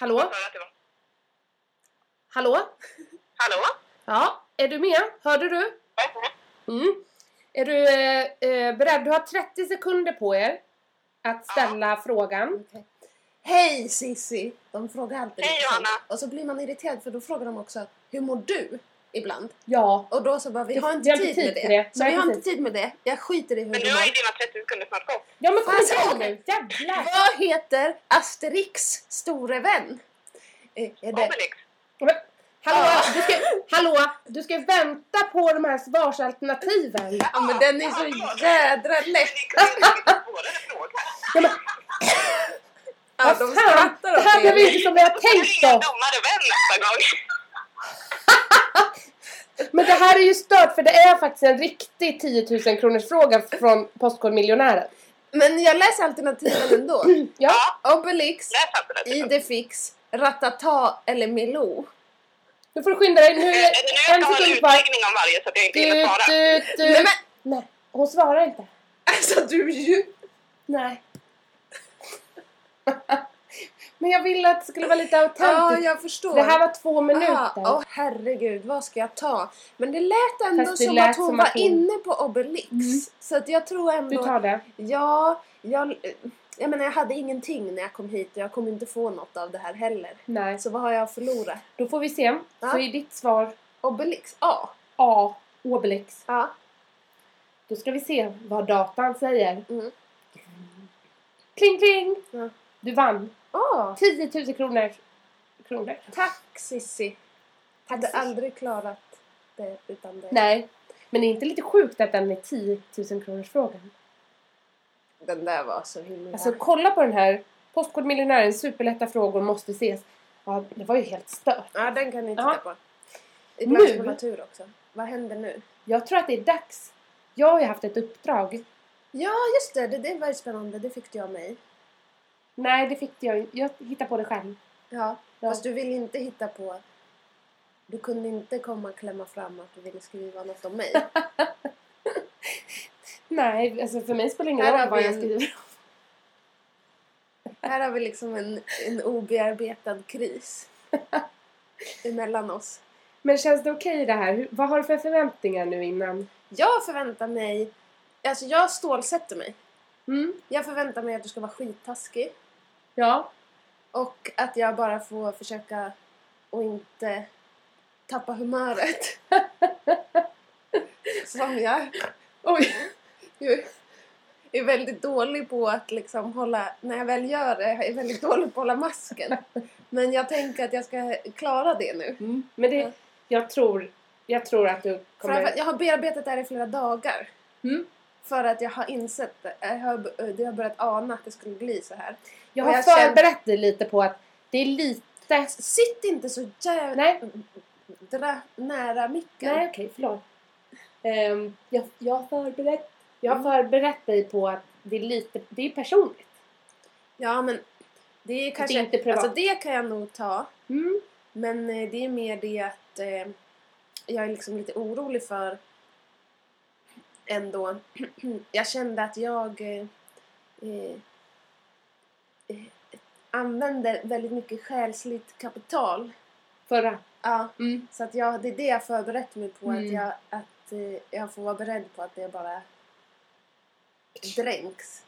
S2: Hallå?
S1: För att det var...
S2: Hallå?
S1: Hallå?
S2: Mm, Ja, är du med? Hörde du? Mm. Är du eh, eh, beredd? Du har 30 sekunder på er att ställa frågan.
S3: Okej. Hej Sissi! De frågar alltid
S1: Hej,
S3: lite så.
S1: Johanna.
S3: Och så blir man irriterad för då frågar de också Hur mår du? ibland.
S2: Ja.
S3: Och då så bara, vi
S2: Det-
S3: har
S2: vi
S3: inte
S2: har inte
S3: tid med
S2: tid
S3: det.
S2: för det.
S3: Så
S2: Nej,
S3: vi har
S2: precis.
S3: inte tid med det. Jag skiter i hur
S1: Men
S3: du
S1: nu har ju
S3: mår.
S1: dina 30 sekunder snart gått.
S2: Ja men kom
S3: Alltså,
S2: igen nu! Jävlar!
S3: Vad heter Asterix store vän? Eh, Är det...
S1: Obelix.
S2: Hallå!
S3: Ja.
S2: Du ska, hallå! Du ska vänta på de här svarsalternativen!
S3: Ja men den är så jädra
S1: Men
S3: lätt!
S1: det är en svårare fråga.
S3: Ja, de
S2: fan,
S3: skrattar
S2: Det här
S3: åt
S2: blev ju
S3: er.
S2: inte som vi har
S1: Då ska vi
S2: tänkt
S1: ringa en
S2: oss!
S1: dummare vän nästa gång.
S2: Men det här är ju stört för det är faktiskt en riktig 10 000 kronors fråga från Postkodmiljonären.
S3: Men jag läser alternativen ändå.
S2: Ja.
S3: Obelix,
S1: Läs alternativen.
S3: Idefix, Ratata eller Milou.
S2: Nu får du skynda dig. Nu är
S1: Eh, Nu
S2: det
S1: ska
S2: en
S1: jag ha en
S2: sekund kvar.
S1: utläggning om varje så att jag inte
S2: Du,
S1: hinner svara.
S2: du,
S3: Nej
S2: du.
S3: men
S2: Nej, hon svarar inte.
S3: alltså du är ju...
S2: Nej. Men jag ville att det skulle vara lite
S3: Ja,
S2: autentiskt.
S3: jag förstår.
S2: Det här var två
S3: Ah,
S2: minuter.
S3: Åh herregud, vad ska jag ta? Men det lät ändå
S2: Fast det
S3: som
S2: lät
S3: att hon
S2: som
S3: var
S2: att hon-
S3: inne på Obelix.
S2: Mm.
S3: Så att jag tror
S2: Du
S3: ändå...
S2: tar det.
S3: Ja, jag... Jag menar jag hade ingenting när jag kom hit och jag kommer inte få något av det här heller.
S2: Nej.
S3: Så vad har jag förlorat?
S2: Då får vi se. Så
S3: Ja.
S2: är ditt svar
S3: Obelix? Ja.
S2: A. Obelix.
S3: Ja.
S2: Då ska vi se vad datan säger.
S3: Mm.
S2: Kling kling!
S3: Ja.
S2: Du vann.
S3: Åh,
S2: 10 000 kronor. Kronor?
S3: tack Sissi. Hade
S2: Sissi.
S3: aldrig klarat det utan dig.
S2: Nej. Men det är inte lite sjukt att den är 10 000 kronors frågan?
S3: Den där var så himla...
S2: Alltså kolla på den här. Postkodmiljonären, superlätta frågor måste ses. Ja, det var ju helt stört.
S3: ja, den kan ni titta
S2: Ja.
S3: på. Ibland
S2: Nu?
S3: ska man ha tur också. Vad händer nu?
S2: Jag tror att det är dags. Jag har ju haft ett uppdrag.
S3: Ja, just det. Det, det var ju spännande. Det fick du av mig.
S2: Nej, det fick jag inte. Jag hittade på det själv.
S3: Ja,
S2: Ja.
S3: fast du ville inte hitta på... Du kunde inte komma och klämma fram att du ville skriva något om mig.
S2: Nej, alltså för mig spelar det ingen
S3: Här
S2: roll
S3: har
S2: vad
S3: vi
S2: jag
S3: en-
S2: skriver.
S3: Här har vi liksom en, en obearbetad kris. Emellan oss.
S2: Men känns det okej det här? Hur, vad har du för förväntningar nu innan?
S3: Jag förväntar mig... Alltså jag stålsätter mig.
S2: Mm,
S3: Jag förväntar mig att du ska vara skittaskig.
S2: ja.
S3: Och att jag bara får försöka och inte tappa humöret. Som jag oj, ju är väldigt dålig på att liksom hålla, när jag väl gör det, jag är väldigt dålig på att hålla masken. Men jag tänker att jag ska klara det nu.
S2: Men det,
S3: Ja.
S2: jag tror, jag tror att du kommer...
S3: Framförallt, jag har bearbetat det här i flera dagar.
S2: Mm.
S3: För att jag har insett, det. jag har, eh, jag har börjat ana att det skulle bli så här.
S2: Jag
S3: och
S2: har
S3: jag
S2: förberett dig lite på att det är lite...
S3: Sitt inte så jävla
S2: Nej,
S3: dra- nära micken.
S2: nej okej, förlåt. Ehm, jag, jag har förberett... Jag har
S3: Mm.
S2: förberett dig på att det är lite... Det är personligt.
S3: Ja, men det är kanske...
S2: det är inte privat.
S3: Alltså det kan jag nog ta.
S2: Mm.
S3: Men eh, det är mer det att eh, jag är liksom lite orolig för ändå. jag kände att jag eh, eh, eh, använder väldigt mycket själsligt kapital.
S2: Förra.
S3: Ja,
S2: Mm.
S3: så att jag, det är det jag förberett mig på.
S2: Mm.
S3: Att, jag, att eh, jag får vara beredd på att det bara dränks.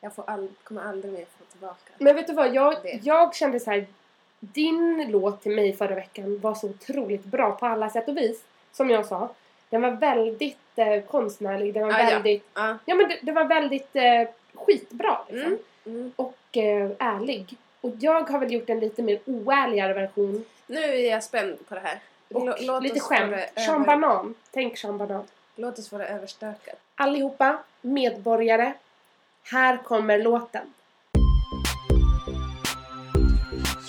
S3: Jag får all, kommer aldrig mer få tillbaka.
S2: Men vet du vad, jag,
S3: Det.
S2: jag kände så här. Din låt till mig förra veckan var så otroligt bra på alla sätt och vis. Som jag sa. Den var väldigt eh, konstnärlig, den var
S3: Ah, ja.
S2: väldigt...
S3: Ja.
S2: Ja men det, det var väldigt eh, skitbra liksom.
S3: Mm. Mm.
S2: och eh, ärlig. Och jag har väl gjort en lite mer oärligare version.
S3: Nu är jag spänd på det här.
S2: Och
S3: Lå- låt
S2: lite
S3: oss få
S2: skämt.
S3: det
S2: Sean
S3: Över,
S2: Banan. Tänk Sean Banan.
S3: låt oss få det överstökat.
S2: Allihopa, medborgare. Här kommer låten.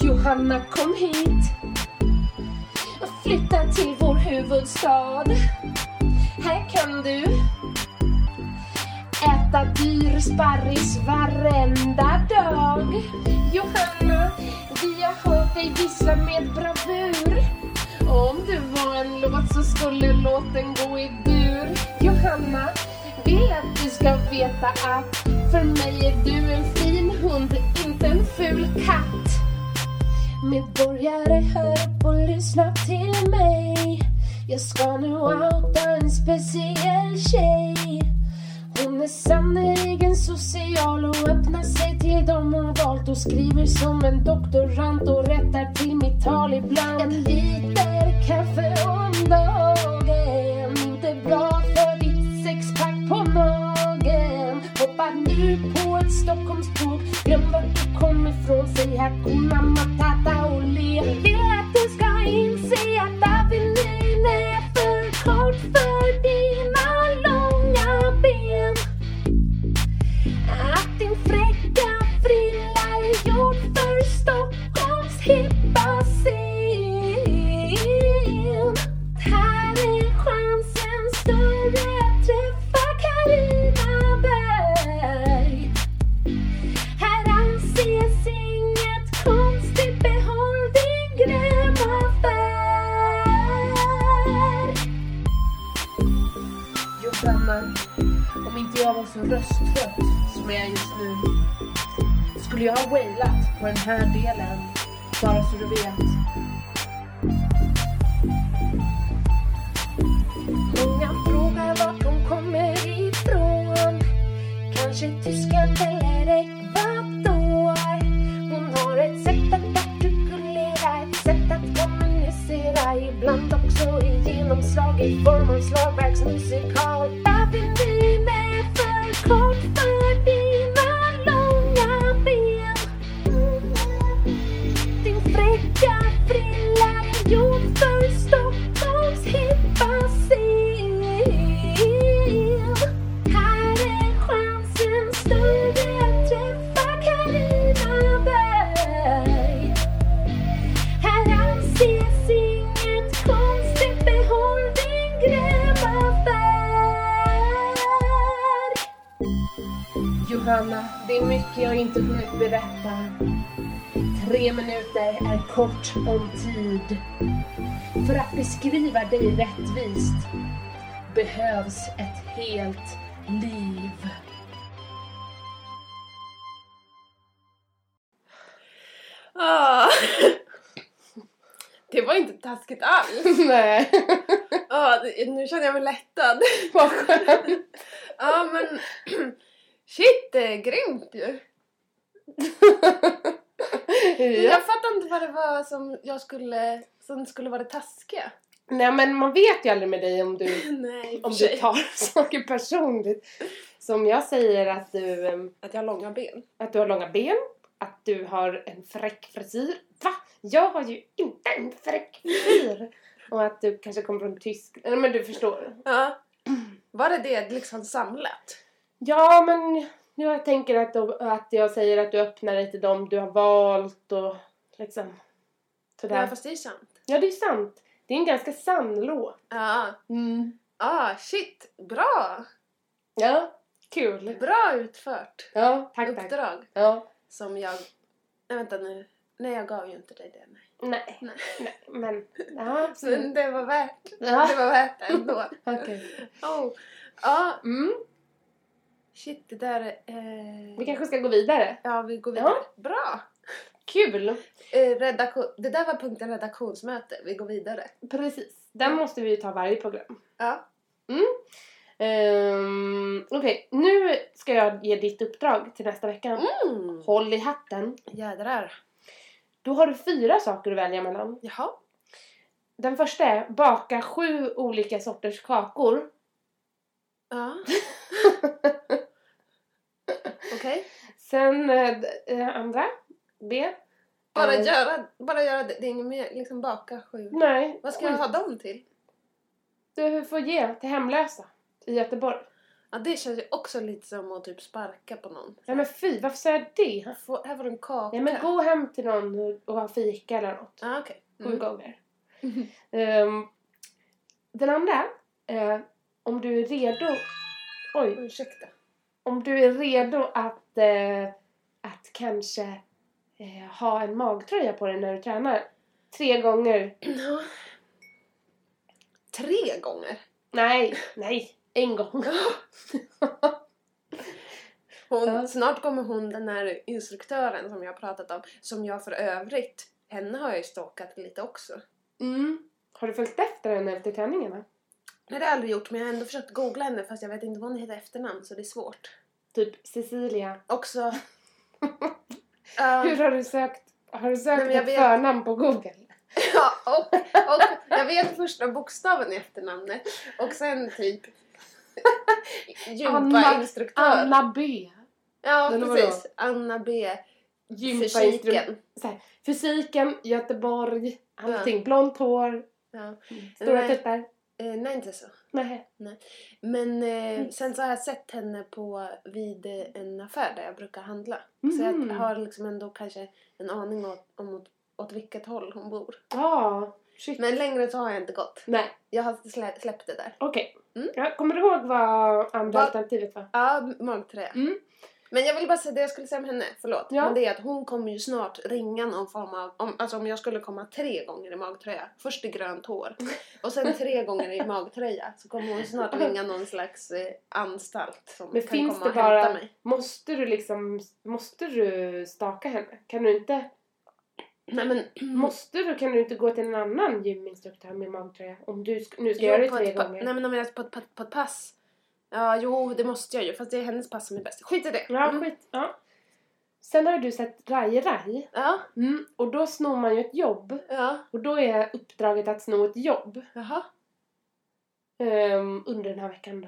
S2: Johanna kom hit och flytta till vår huvudstad. Här kan du äta dyr sparris varenda dag. Johanna, vi har hört dig vissla med bravur. Om det var en låt så skulle låten gå i dur. Johanna, vill att du ska veta att för mig är du en fin hund, inte en ful katt. Medborgare, hör och lyssna till mig. Jag ska nu outa en speciell tjej. Hon är sannerligen social och öppnar sig till dem hon valt och skriver som en doktorand och rättar till mitt
S4: samtal ibland. En liter kaffe om dagen. Inte bra för ditt sexpack på magen. Hoppa nu på ett Stockholmståg. Glöm vart du kom ifrån. Säg Hakuna Matata och le. Vill att du ska inse att avenyn är för kort för dina långa ben. Att din fräcka frilla är gjord för Stockholms hippa scen. Här är chansen större att träffa Carina Berg. Här anses inget konstigt, behåll din gröna färg.
S2: Jo vänner, om inte jag var så rösttrött som jag är just nu skulle jag ha wailat på den här delen, bara så du vet.
S4: Många frågar vart hon kommer ifrån. Kanske Tyskland eller Ecuador. Hon har ett sätt att artikulera, ett sätt att kommunicera. Ibland också i genomslag i form av slagverksmusikal. Avenyn är för kort för dina långa ben. Din fräcka frilla är gjord för Stockholms hippa scen. Här är chansen större att träffa Carina Berg. Här anses inget konstigt, behåll din gröna färg.
S2: Johanna, det är mycket jag inte hunnit berätta. Tre minuter är kort om tid. För att beskriva dig rättvist behövs ett helt liv.
S3: Ah. Det var inte taskigt alls.
S2: Nej,
S3: Ah, det- nu känner jag mig lättad.
S2: vad skönt.
S3: Ja men shit, det är grymt ju. Jag fattar inte vad det var som jag skulle, som skulle vara det taskiga.
S2: Nej men man vet ju aldrig med dig om du
S3: Nej, i och
S2: Om
S3: för
S2: du
S3: sig.
S2: tar saker personligt. Så om jag säger att du, ehm,
S3: Att jag har långa ben.
S2: att du har långa ben, att du har en fräck frisyr. Va? Jag har ju inte en fräck frisyr! Och att du kanske kommer från Tyskland. Nej men du förstår.
S3: Ja. Var det det liksom samlat?
S2: Ja men jag tänker att, de, att jag säger att du öppnar dig till dem du har valt och liksom
S3: Ja,
S2: sådär.
S3: fast det är sant.
S2: Ja det är sant. Det är en ganska sann låt.
S3: Ja.
S2: Mm.
S3: Ah, shit, bra!
S2: Ja, kul.
S3: Bra utfört
S2: Ja, tack tack.
S3: uppdrag
S2: Ja.
S3: som jag... Nej, vänta nu. Nej, jag gav ju inte dig det. Nej.
S2: Nej.
S3: Nej.
S2: Nej, men... Ja,
S3: Men
S2: absolut.
S3: det var värt det.
S2: Mm. Ja,
S3: var värt det ändå.
S2: okej.
S3: Oh. Ja,
S2: Mm.
S3: shit, det där... Eh...
S2: Vi kanske ska gå vidare.
S3: Ja, vi går vidare. Bra!
S2: Kul!
S3: Eh, redaktion... Det där var punkten redaktionsmöte. Vi går vidare.
S2: Precis. Den måste vi ju ta varje program.
S3: Ja.
S2: Um, Okej, nu ska jag ge ditt uppdrag till nästa vecka.
S3: Mm.
S2: Håll i hatten.
S3: Jädrar.
S2: Då har du fyra saker att välja mellan.
S3: Jaha.
S2: Den första är baka sju olika sorters kakor.
S3: Ja. Okej.
S2: Sen eh, d- eh, andra, B.
S3: Bara
S2: Eh,
S3: göra, bara göra det. Det är inget mer. Liksom baka sju.
S2: Nej.
S3: Vad ska jag ha dem till?
S2: Du får ge till hemlösa i Göteborg.
S3: Ja, det känns ju också lite som att typ sparka på någon.
S2: Nej men fy, varför sa jag det?
S3: Få, här var det en kaka.
S2: Nej men gå hem till någon och- och ha fika eller något.
S3: Ja, okej.
S2: Sju
S3: Mm.
S2: gånger. Ehm, den andra, eh, om du är redo... Oj.
S3: Ursäkta.
S2: Om du är redo att, eh, att kanske eh, ha en magtröja på dig när du tränar. Tre gånger.
S3: Ja. Tre gånger?
S2: Nej, nej. En gång.
S3: Hon,
S2: Ja.
S3: Snart kommer hon, den här instruktören som jag har pratat om, som jag för övrigt, henne har jag ju stalkat lite också.
S2: Mm. Har du följt efter henne efter träningarna?
S3: Nej, det har jag aldrig gjort, men jag har ändå försökt googla henne fast jag vet inte vad hon heter i efternamn så det är svårt.
S2: Typ Cecilia.
S3: Också... Ja.
S2: Hur har du sökt? Har du sökt
S3: men jag
S2: ett
S3: vet-
S2: förnamn på Google?
S3: Ja, och, och jag vet första bokstaven i efternamnet och sen typ gympainstruktör.
S2: Anna B.
S3: Ja,
S2: Eller vadå?
S3: precis. Anna B.
S2: Gympainstruktör.
S3: Fysiken.
S2: Fysiken, Göteborg, allting. Blont hår,
S3: Ja.
S2: stora
S3: Nej.
S2: tuttar.
S3: Eh, nej, inte så.
S2: Nej.
S3: Men
S2: Mm.
S3: eh, sen så har jag sett henne på, vid eh, en affär där jag brukar handla. Så
S2: Mhm.
S3: jag har liksom ändå kanske en aning åt, om åt, åt vilket håll hon bor.
S2: Ja, shit.
S3: Men längre så har jag inte gått.
S2: Nej,
S3: Jag har slä, släppt det där.
S2: okej.
S3: Mm.
S2: Ja, kommer du ihåg vad andra
S3: Vad-
S2: alternativet var?
S3: Ja, magträ.
S2: Mm.
S3: Men jag vill bara säga det jag skulle säga om henne, förlåt.
S2: Ja.
S3: Men det är att hon kommer ju snart ringa någon form av, om, alltså om jag skulle komma tre gånger i magtröja. Först i grönt hår och sen tre gånger i magtröja. Så kommer hon snart ringa någon slags eh, anstalt som
S2: Men
S3: kan
S2: finns
S3: komma
S2: det
S3: och hämta
S2: bara-
S3: mig.
S2: Måste du liksom, måste du staka henne? Kan du inte,
S3: Nej men
S2: måste du, kan du inte gå till en annan gyminstruktör med magtröja? Om du sk- nu ska
S3: Jo,
S2: göra det
S3: på
S2: tre
S3: ett pa-
S2: gånger.
S3: Nej men om jag är på ett, på, ett, på ett pass. Ja, jo det måste jag ju fast det är hennes pass som är bäst. Skit i det.
S2: Ja,
S3: Mm.
S2: skit. Ja. Sen har du sett Rai Rai. Mm.
S3: Ja,
S2: Och då snor man ju ett jobb.
S3: ja,
S2: Och då är uppdraget att sno ett jobb
S3: jaha.
S2: ehm, under den här veckan då.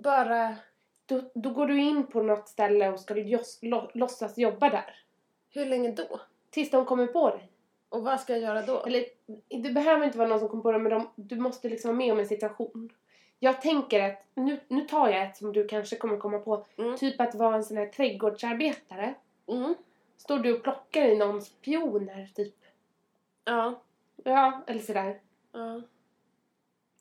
S3: Bara,
S2: då. Då går du in på något ställe och ska jos, lo, låtsas jobba där.
S3: hur länge då?
S2: Tills de kommer på dig.
S3: Och vad ska jag göra då?
S2: Eller det behöver inte vara någon som kommer på dig men de, du måste liksom vara med om en situation. Jag tänker att, nu, nu tar jag ett som du kanske kommer komma på.
S3: Mm.
S2: Typ att vara en sån här trädgårdsarbetare.
S3: Mm.
S2: Står du och plockar i någons pioner typ.
S3: Ja.
S2: Ja, eller sådär.
S3: ja.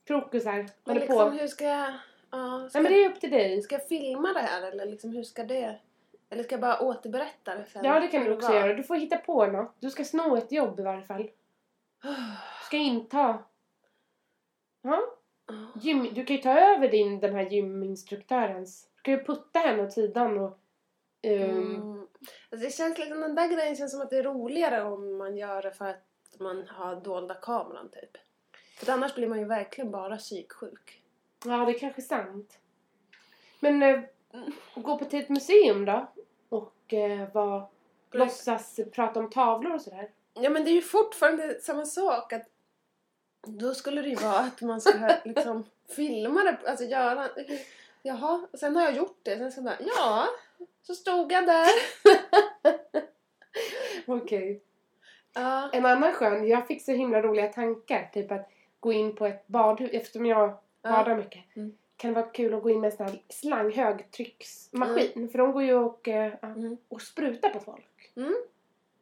S2: Krokusar.
S3: Men
S2: Håller
S3: liksom
S2: på.
S3: hur ska jag... Ja, ska,
S2: Nej men det är upp till dig.
S3: ska jag filma det här eller liksom hur ska det... Eller ska jag bara återberätta det sen?
S2: Ja det kan du också
S3: Vad?
S2: göra. Du får hitta på något. Du ska sno ett jobb i varje fall.
S3: Ah.
S2: Du ska inta. Ja. Gym, du kan ju ta över din, den här gyminstruktörens. Du kan ju putta henne åt sidan och... ehm,
S3: Mm. Alltså det känns liksom, den där grejen känns som att det är roligare om man gör det för att man har dolda kameran typ. För annars blir man ju verkligen bara psyksjuk.
S2: Ja det är kanske är sant. Men eh, gå på till ett museum då. Och eh, var, låtsas prata om tavlor och sådär.
S3: Ja men det är ju fortfarande samma sak att då skulle det ju vara att man ska liksom filma det, alltså göra... Jaha, och sen har jag gjort det, sen ska jag bara ja, så stod jag där.
S2: Okej.
S3: Ja.
S2: En annan skön, jag fick så himla roliga tankar. Typ att gå in på ett badhus, eftersom jag badar mycket.
S3: Mm.
S2: Kan det vara kul att gå in med en sån här slang högtrycksmaskin. För de går ju och, eh, ja,
S3: Mm.
S2: och sprutar på folk.
S3: Mm.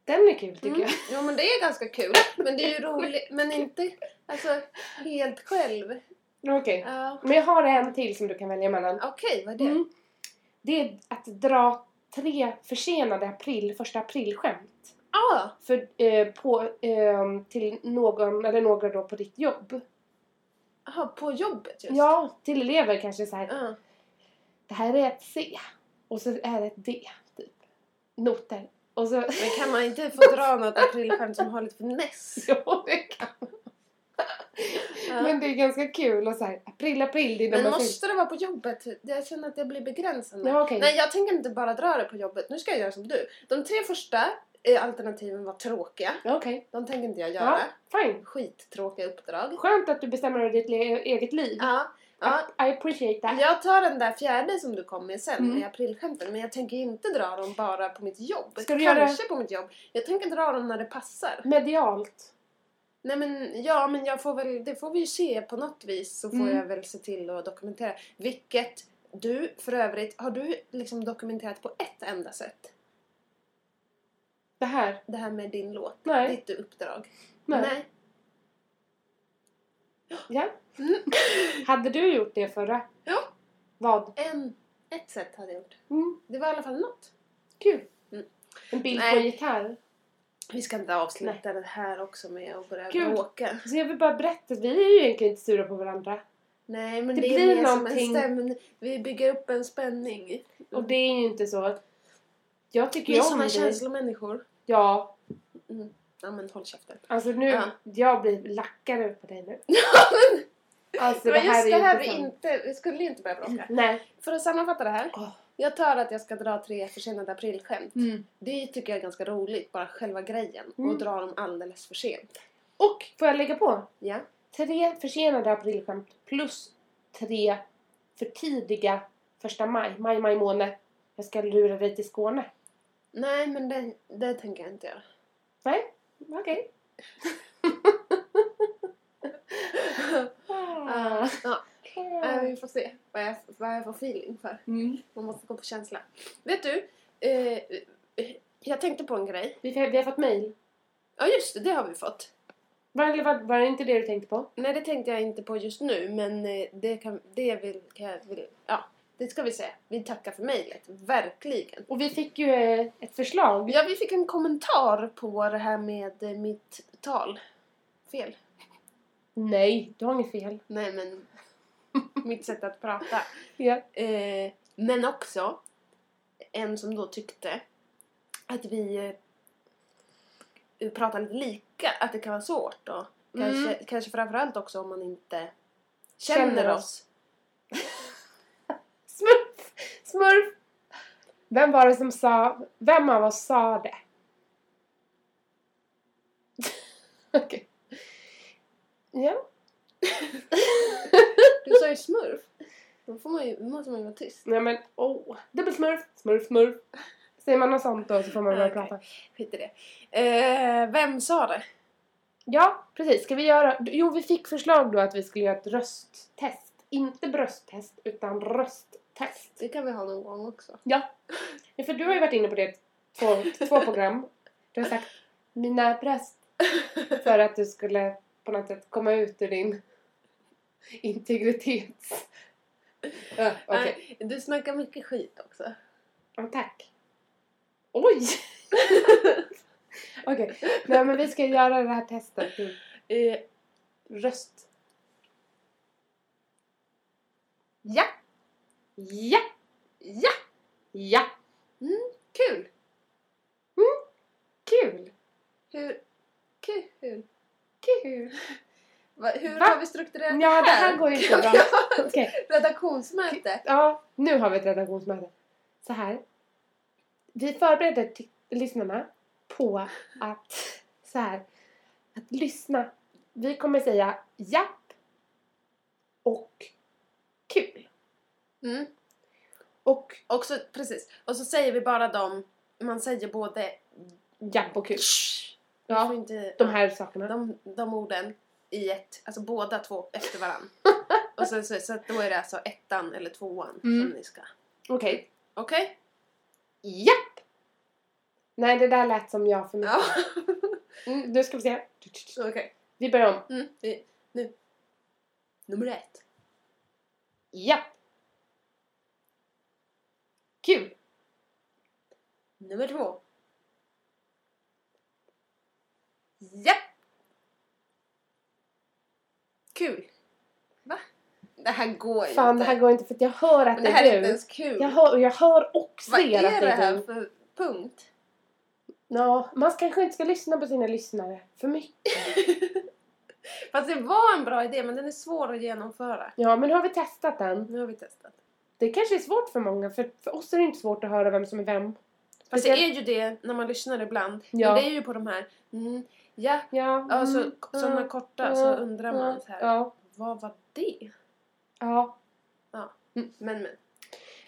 S2: Den är kul tycker
S3: Mm.
S2: jag.
S3: Jo men det är ganska kul. Men det är ju roligt, men inte alltså, helt själv.
S2: Men Okej.
S3: Ja.
S2: Men jag har en till som du kan välja mellan.
S3: Okej, vad är det?
S2: Mm. Det är att dra tre försenade april, första aprilskämt.
S3: Ah,
S2: För, eh, på, ehm, till någon eller några då på ditt jobb.
S3: aha, på jobbet just. Ah.
S2: Ja, till elever kanske så här.
S3: Ja.
S2: Det här är ett C. Och så är det ett D. Typ. Noter. Och så...
S3: Men kan man inte få dra något aprilskämt som har lite finess?
S2: Jo, det kan
S3: Ja.
S2: Men det är ganska kul och så här, april, april, det är när
S3: Men
S2: man
S3: måste det vara på jobbet? Jag känner att det blir begränsande.
S2: Ja, okej.
S3: Nej, jag tänker inte bara dra det på jobbet. Nu ska jag göra som du. De tre första eh, alternativen var tråkiga.
S2: Ja, Okej.
S3: De tänker inte jag
S2: Ja,
S3: göra.
S2: fine.
S3: Skittråkiga uppdrag.
S2: Skönt att du bestämmer över ditt le- eget liv.
S3: Ja, ja.
S2: I appreciate that.
S3: Alltså, Jag tar den där fjärde som du kom med sen
S2: Mm.
S3: med aprilskämten. Men jag tänker inte dra dem bara på mitt jobb.
S2: Ska du
S3: Kanske på mitt jobb. Jag tänker dra dem när det passar.
S2: Medialt.
S3: Nej men ja, men jag får väl, det får vi ju se på något vis så får
S2: Mm.
S3: jag väl se till att dokumentera. Vilket du för övrigt, har du liksom dokumenterat på ett enda sätt?
S2: Det här.
S3: Det här med din låt,
S2: Nej.
S3: ditt uppdrag?
S2: Nej. Ja. Hade du gjort det förra?
S3: Ja.
S2: Vad?
S3: En, ett sätt hade jag gjort.
S2: Mm,
S3: Det var i alla fall något.
S2: kul.
S3: Mm.
S2: En bild på
S3: Nej.
S2: en gitarr.
S3: Vi ska inte avsluta det här också med att börja
S2: Gud.
S3: bråka.
S2: Så Alltså, jag vill bara berätta att vi är ju egentligen inte sura på varandra.
S3: Nej men
S2: Det
S3: det,
S2: blir
S3: är mer
S2: någonting-
S3: som en stämning. Vi bygger upp en spänning.
S2: Och det är ju inte så. Jag tycker
S3: Vi Mm. är
S2: ju om
S3: såna
S2: dig.
S3: känslomänniskor.
S2: Ja,
S3: Ja men håll käften.
S2: alltså nu.
S3: Ja.
S2: Jag blir lackare på dig nu. Alltså
S3: Det var just det
S2: ju
S3: här
S2: inte
S3: vi
S2: sant.
S3: inte, vi skulle ju inte börja bråka.
S2: Nej.
S3: För att sammanfatta det här.
S2: Åh.
S3: Jag tar att jag ska dra tre försenade aprilskämt.
S2: Mm.
S3: Det tycker jag är ganska roligt, bara själva grejen.
S2: Mm.
S3: Och dra dem alldeles för sent.
S2: Och får jag lägga på?
S3: Ja.
S2: Tre försenade aprilskämt plus tre för tidiga första maj. Maj, maj måne. Jag ska lura dig till Skåne.
S3: Nej, men det, det tänker jag inte göra.
S2: Nej, okej.
S3: Ah, ja.
S2: Eh,
S3: Nej, vi får se vad jag, vad jag får feeling för.
S2: Mm.
S3: Man måste gå på känsla. Vet du? Eh, eh, jag tänkte på en grej.
S2: Vi, vi har fått mejl.
S3: Ja, just det. Det har vi fått.
S2: Var, eller var, var det inte det du tänkte på?
S3: Nej, det tänkte jag inte på just nu, men eh, det kan, det vill, kan jag, vill, ja, det ska vi säga. Vi tackar för mejlet, verkligen.
S2: Och vi fick ju eh, ett förslag.
S3: Ja, vi fick en kommentar på det här med eh, mitt tal. Fel.
S2: Nej, du har inget fel.
S3: Nej, men mitt sätt att prata.
S2: Ja.
S3: Eh, men också en som då tyckte att vi eh, pratar lite lika, att det kan vara svårt då. Kanske, kanske framförallt också om man inte Mm. känner,
S2: Känner
S3: oss.
S2: Smurf! Smurf! Vem var det som sa... Vem av oss sa det? Okej. Ja.
S3: Du sa ju smurf. Då får man ju, då måste man ju vara tyst.
S2: Nej men åh. Oh. Dubbelsmurf, smurf, smurf. Säger man något sånt då så får man börja
S3: Okej.
S2: prata.
S3: Skit i det. Eh, vem sa det?
S2: Ja, precis. Ska vi göra... Jo, vi fick förslag då att vi skulle göra ett rösttest. Inte brösttest, utan rösttest.
S3: Det kan vi ha någon gång också.
S2: Ja. ja. För du har ju varit inne på det två, två program. Du har sagt mina bröst. För att du skulle på något sätt komma ut ur din integritets... Ja, Okej.
S3: Nej, Du snackar mycket skit också.
S2: Ja, tack. Oj! Okej. Nej men vi ska göra det här testet. Mm.
S3: Eh,
S2: Röst. Ja! Ja! Ja! Ja! Mm,
S3: kul!
S2: Kul!
S3: Hur... Kul!
S2: Kul!
S3: Va, hur
S2: Va?
S3: har vi strukturerat
S2: Ja, det här går ju inte bra. Okej.
S3: Redaktionsmöte.
S2: Ja, nu har vi ett redaktionsmöte. Så här. Vi förbereder t- lyssnarna på att så här. Att lyssna. Vi kommer säga japp och kul.
S3: Mm.
S2: Och
S3: Och så, precis. Och så säger vi bara dem... Man säger både...
S2: japp och kul.
S3: Man
S2: Ja,
S3: får inte,
S2: de här sakerna.
S3: de, de orden i ett, alltså båda två efter varann. och sen, så, så att då är det alltså ettan eller tvåan
S2: Mm.
S3: som ni ska.
S2: Okej.
S3: Okej?
S2: Japp! Nej, det där lät som jag för mycket.
S3: Ja.
S2: Mm, nu ska vi se.
S3: Okej.
S2: Vi börjar om.
S3: Mm. vi- Nu. Nummer ett.
S2: Japp! Kul!
S3: Nummer två.
S2: Japp!
S3: Kul. Va? Det här går ju
S2: Fan, det
S3: inte.
S2: här går inte för att jag hör att
S3: Men
S2: det
S3: det här
S2: är
S3: är inte
S2: du.
S3: ens kul.
S2: Jag hör, och jag hör och
S3: Vad
S2: ser
S3: är
S2: att
S3: det
S2: det är
S3: här
S2: du.
S3: för punkt?
S2: Ja, man kanske inte ska lyssna på sina lyssnare för mycket.
S3: Fast det var en bra idé men den är svår att genomföra.
S2: Ja, men nu har vi testat den.
S3: Nu har vi testat.
S2: Det kanske är svårt för många, för, för oss är det inte svårt att höra vem som är vem.
S3: Fast det
S2: Speciellt-
S3: är ju det när man lyssnar ibland.
S2: Ja.
S3: Men det är ju på de här mm, ja,
S2: Ja,
S3: ja, så,
S2: mm,
S3: sådana
S2: mm,
S3: korta så
S2: mm,
S3: undrar man
S2: mm,
S3: så här.
S2: Ja,
S3: Vad var det?
S2: ja.
S3: Men men.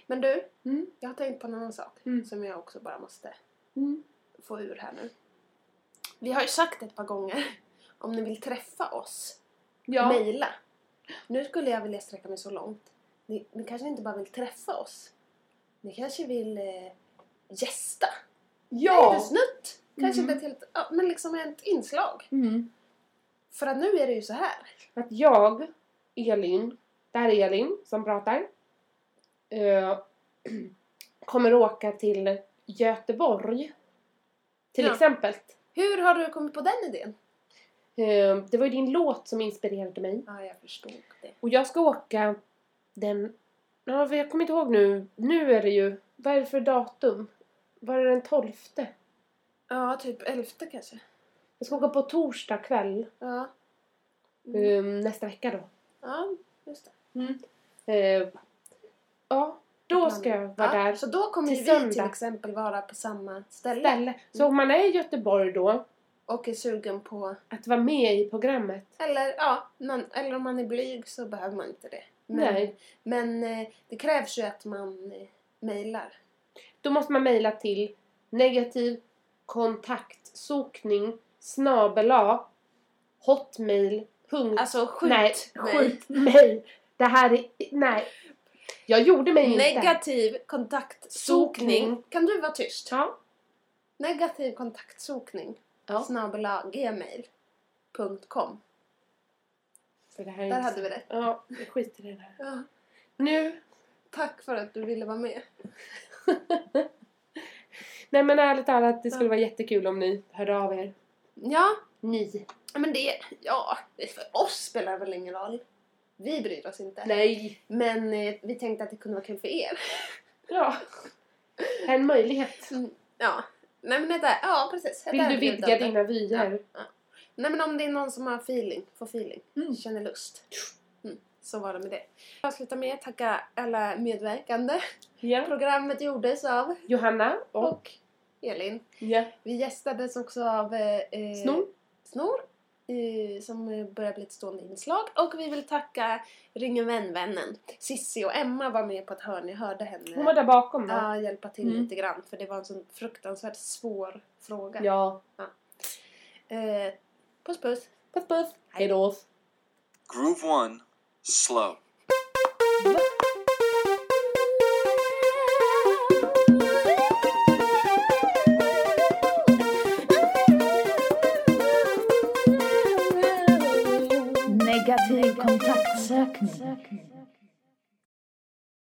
S3: Men du,
S2: Mm.
S3: jag har tänkt på en annan sak
S2: Mm.
S3: som jag också bara måste
S2: Mm.
S3: få ur här nu. Vi har ju sagt ett par gånger om ni vill träffa oss,
S2: Ja.
S3: mejla. Nu skulle jag vilja sträcka mig så långt. Ni, ni kanske inte bara vill träffa oss. Ni kanske vill eh, gästa. En
S2: Ja!
S3: liten snutt. Kanske
S2: Mm.
S3: inte ett helt, ja, men liksom ett inslag.
S2: Mm.
S3: För att nu är det ju så här.
S2: Att jag, Elin, det här är Elin som pratar, eh, kommer åka till Göteborg. Till
S3: Ja.
S2: exempel.
S3: Hur har du kommit på den idén?
S2: Eh, Det var ju din låt som inspirerade mig.
S3: Ja, jag förstod det.
S2: Och jag ska åka den... Ja, för jag kommer inte ihåg nu. Nu är det ju... Vad är det för datum? Var det den 12?
S3: Ja, typ elfte kanske.
S2: Jag ska åka på torsdag kväll
S3: Ja,
S2: ehm, nästa vecka då.
S3: Mm. ja just det.
S2: Eh, ja, då ska jag vara
S3: ja,
S2: där.
S3: Så då kommer
S2: till
S3: ju vi till
S2: söndag.
S3: exempel vara på samma ställe.
S2: Ställe. Så om man är i Göteborg då
S3: och är sugen på...
S2: Att vara med i programmet.
S3: Eller, ja, någon, eller om man är blyg så behöver man inte det. Men,
S2: Nej.
S3: men eh, det krävs ju att man eh, mejlar.
S2: Då måste man mejla till negativ kontaktsokning snabela hotmail. punkt-
S3: Alltså skjut
S2: nej,
S3: mig.
S2: skjut mig. Det här är... Nej. Jag gjorde mig inte.
S3: Negativ kontaktsokning.
S2: Sokning.
S3: Kan du vara tyst?
S2: Ja.
S3: Negativ kontaktsokning.
S2: Ja.
S3: Snabela gmail.com.
S2: För det här är
S3: Där
S2: inte-
S3: hade vi det.
S2: Ja, jag skiter i det här.
S3: Ja,
S2: Nu.
S3: tack för att du ville vara med.
S2: Nej men ärligt talat, det skulle vara jättekul om ni hörde av er.
S3: Ja,
S2: Ni.
S3: men det... Ja, det för oss spelar det väl ingen roll. Vi bryr oss inte.
S2: Nej.
S3: Men eh, vi tänkte att det kunde vara kul för er.
S2: Ja. En möjlighet.
S3: Ja. Nej men detta, ja precis.
S2: Vill
S3: Detta
S2: du
S3: är
S2: vidga
S3: bjudande.
S2: dina vyer?
S3: Nej men om det är någon som har feeling, får feeling,
S2: Mm.
S3: känner lust. Mm. Så var det med det. Jag avslutar med att tacka alla medverkande.
S2: Ja.
S3: Programmet gjordes av
S2: Johanna och...
S3: och Elin.
S2: Ja.
S3: Vi gästades också av eh, eh,
S2: Snor.
S3: Snor eh, som eh, börjar bli ett stående inslag. Och vi vill tacka Ring en vän-vännen. Sissi och Emma var med på ett hörn, jag hörde henne.
S2: Hon var där bakom va?
S3: Eh, Ja, hjälpa till
S2: Mm.
S3: lite grann för det var en sån fruktansvärt svår fråga.
S2: Ja.
S3: Eh, puss puss!
S2: Puss puss. Hejdå.
S5: Groove one, slow.
S6: Negativ kontaktsökning.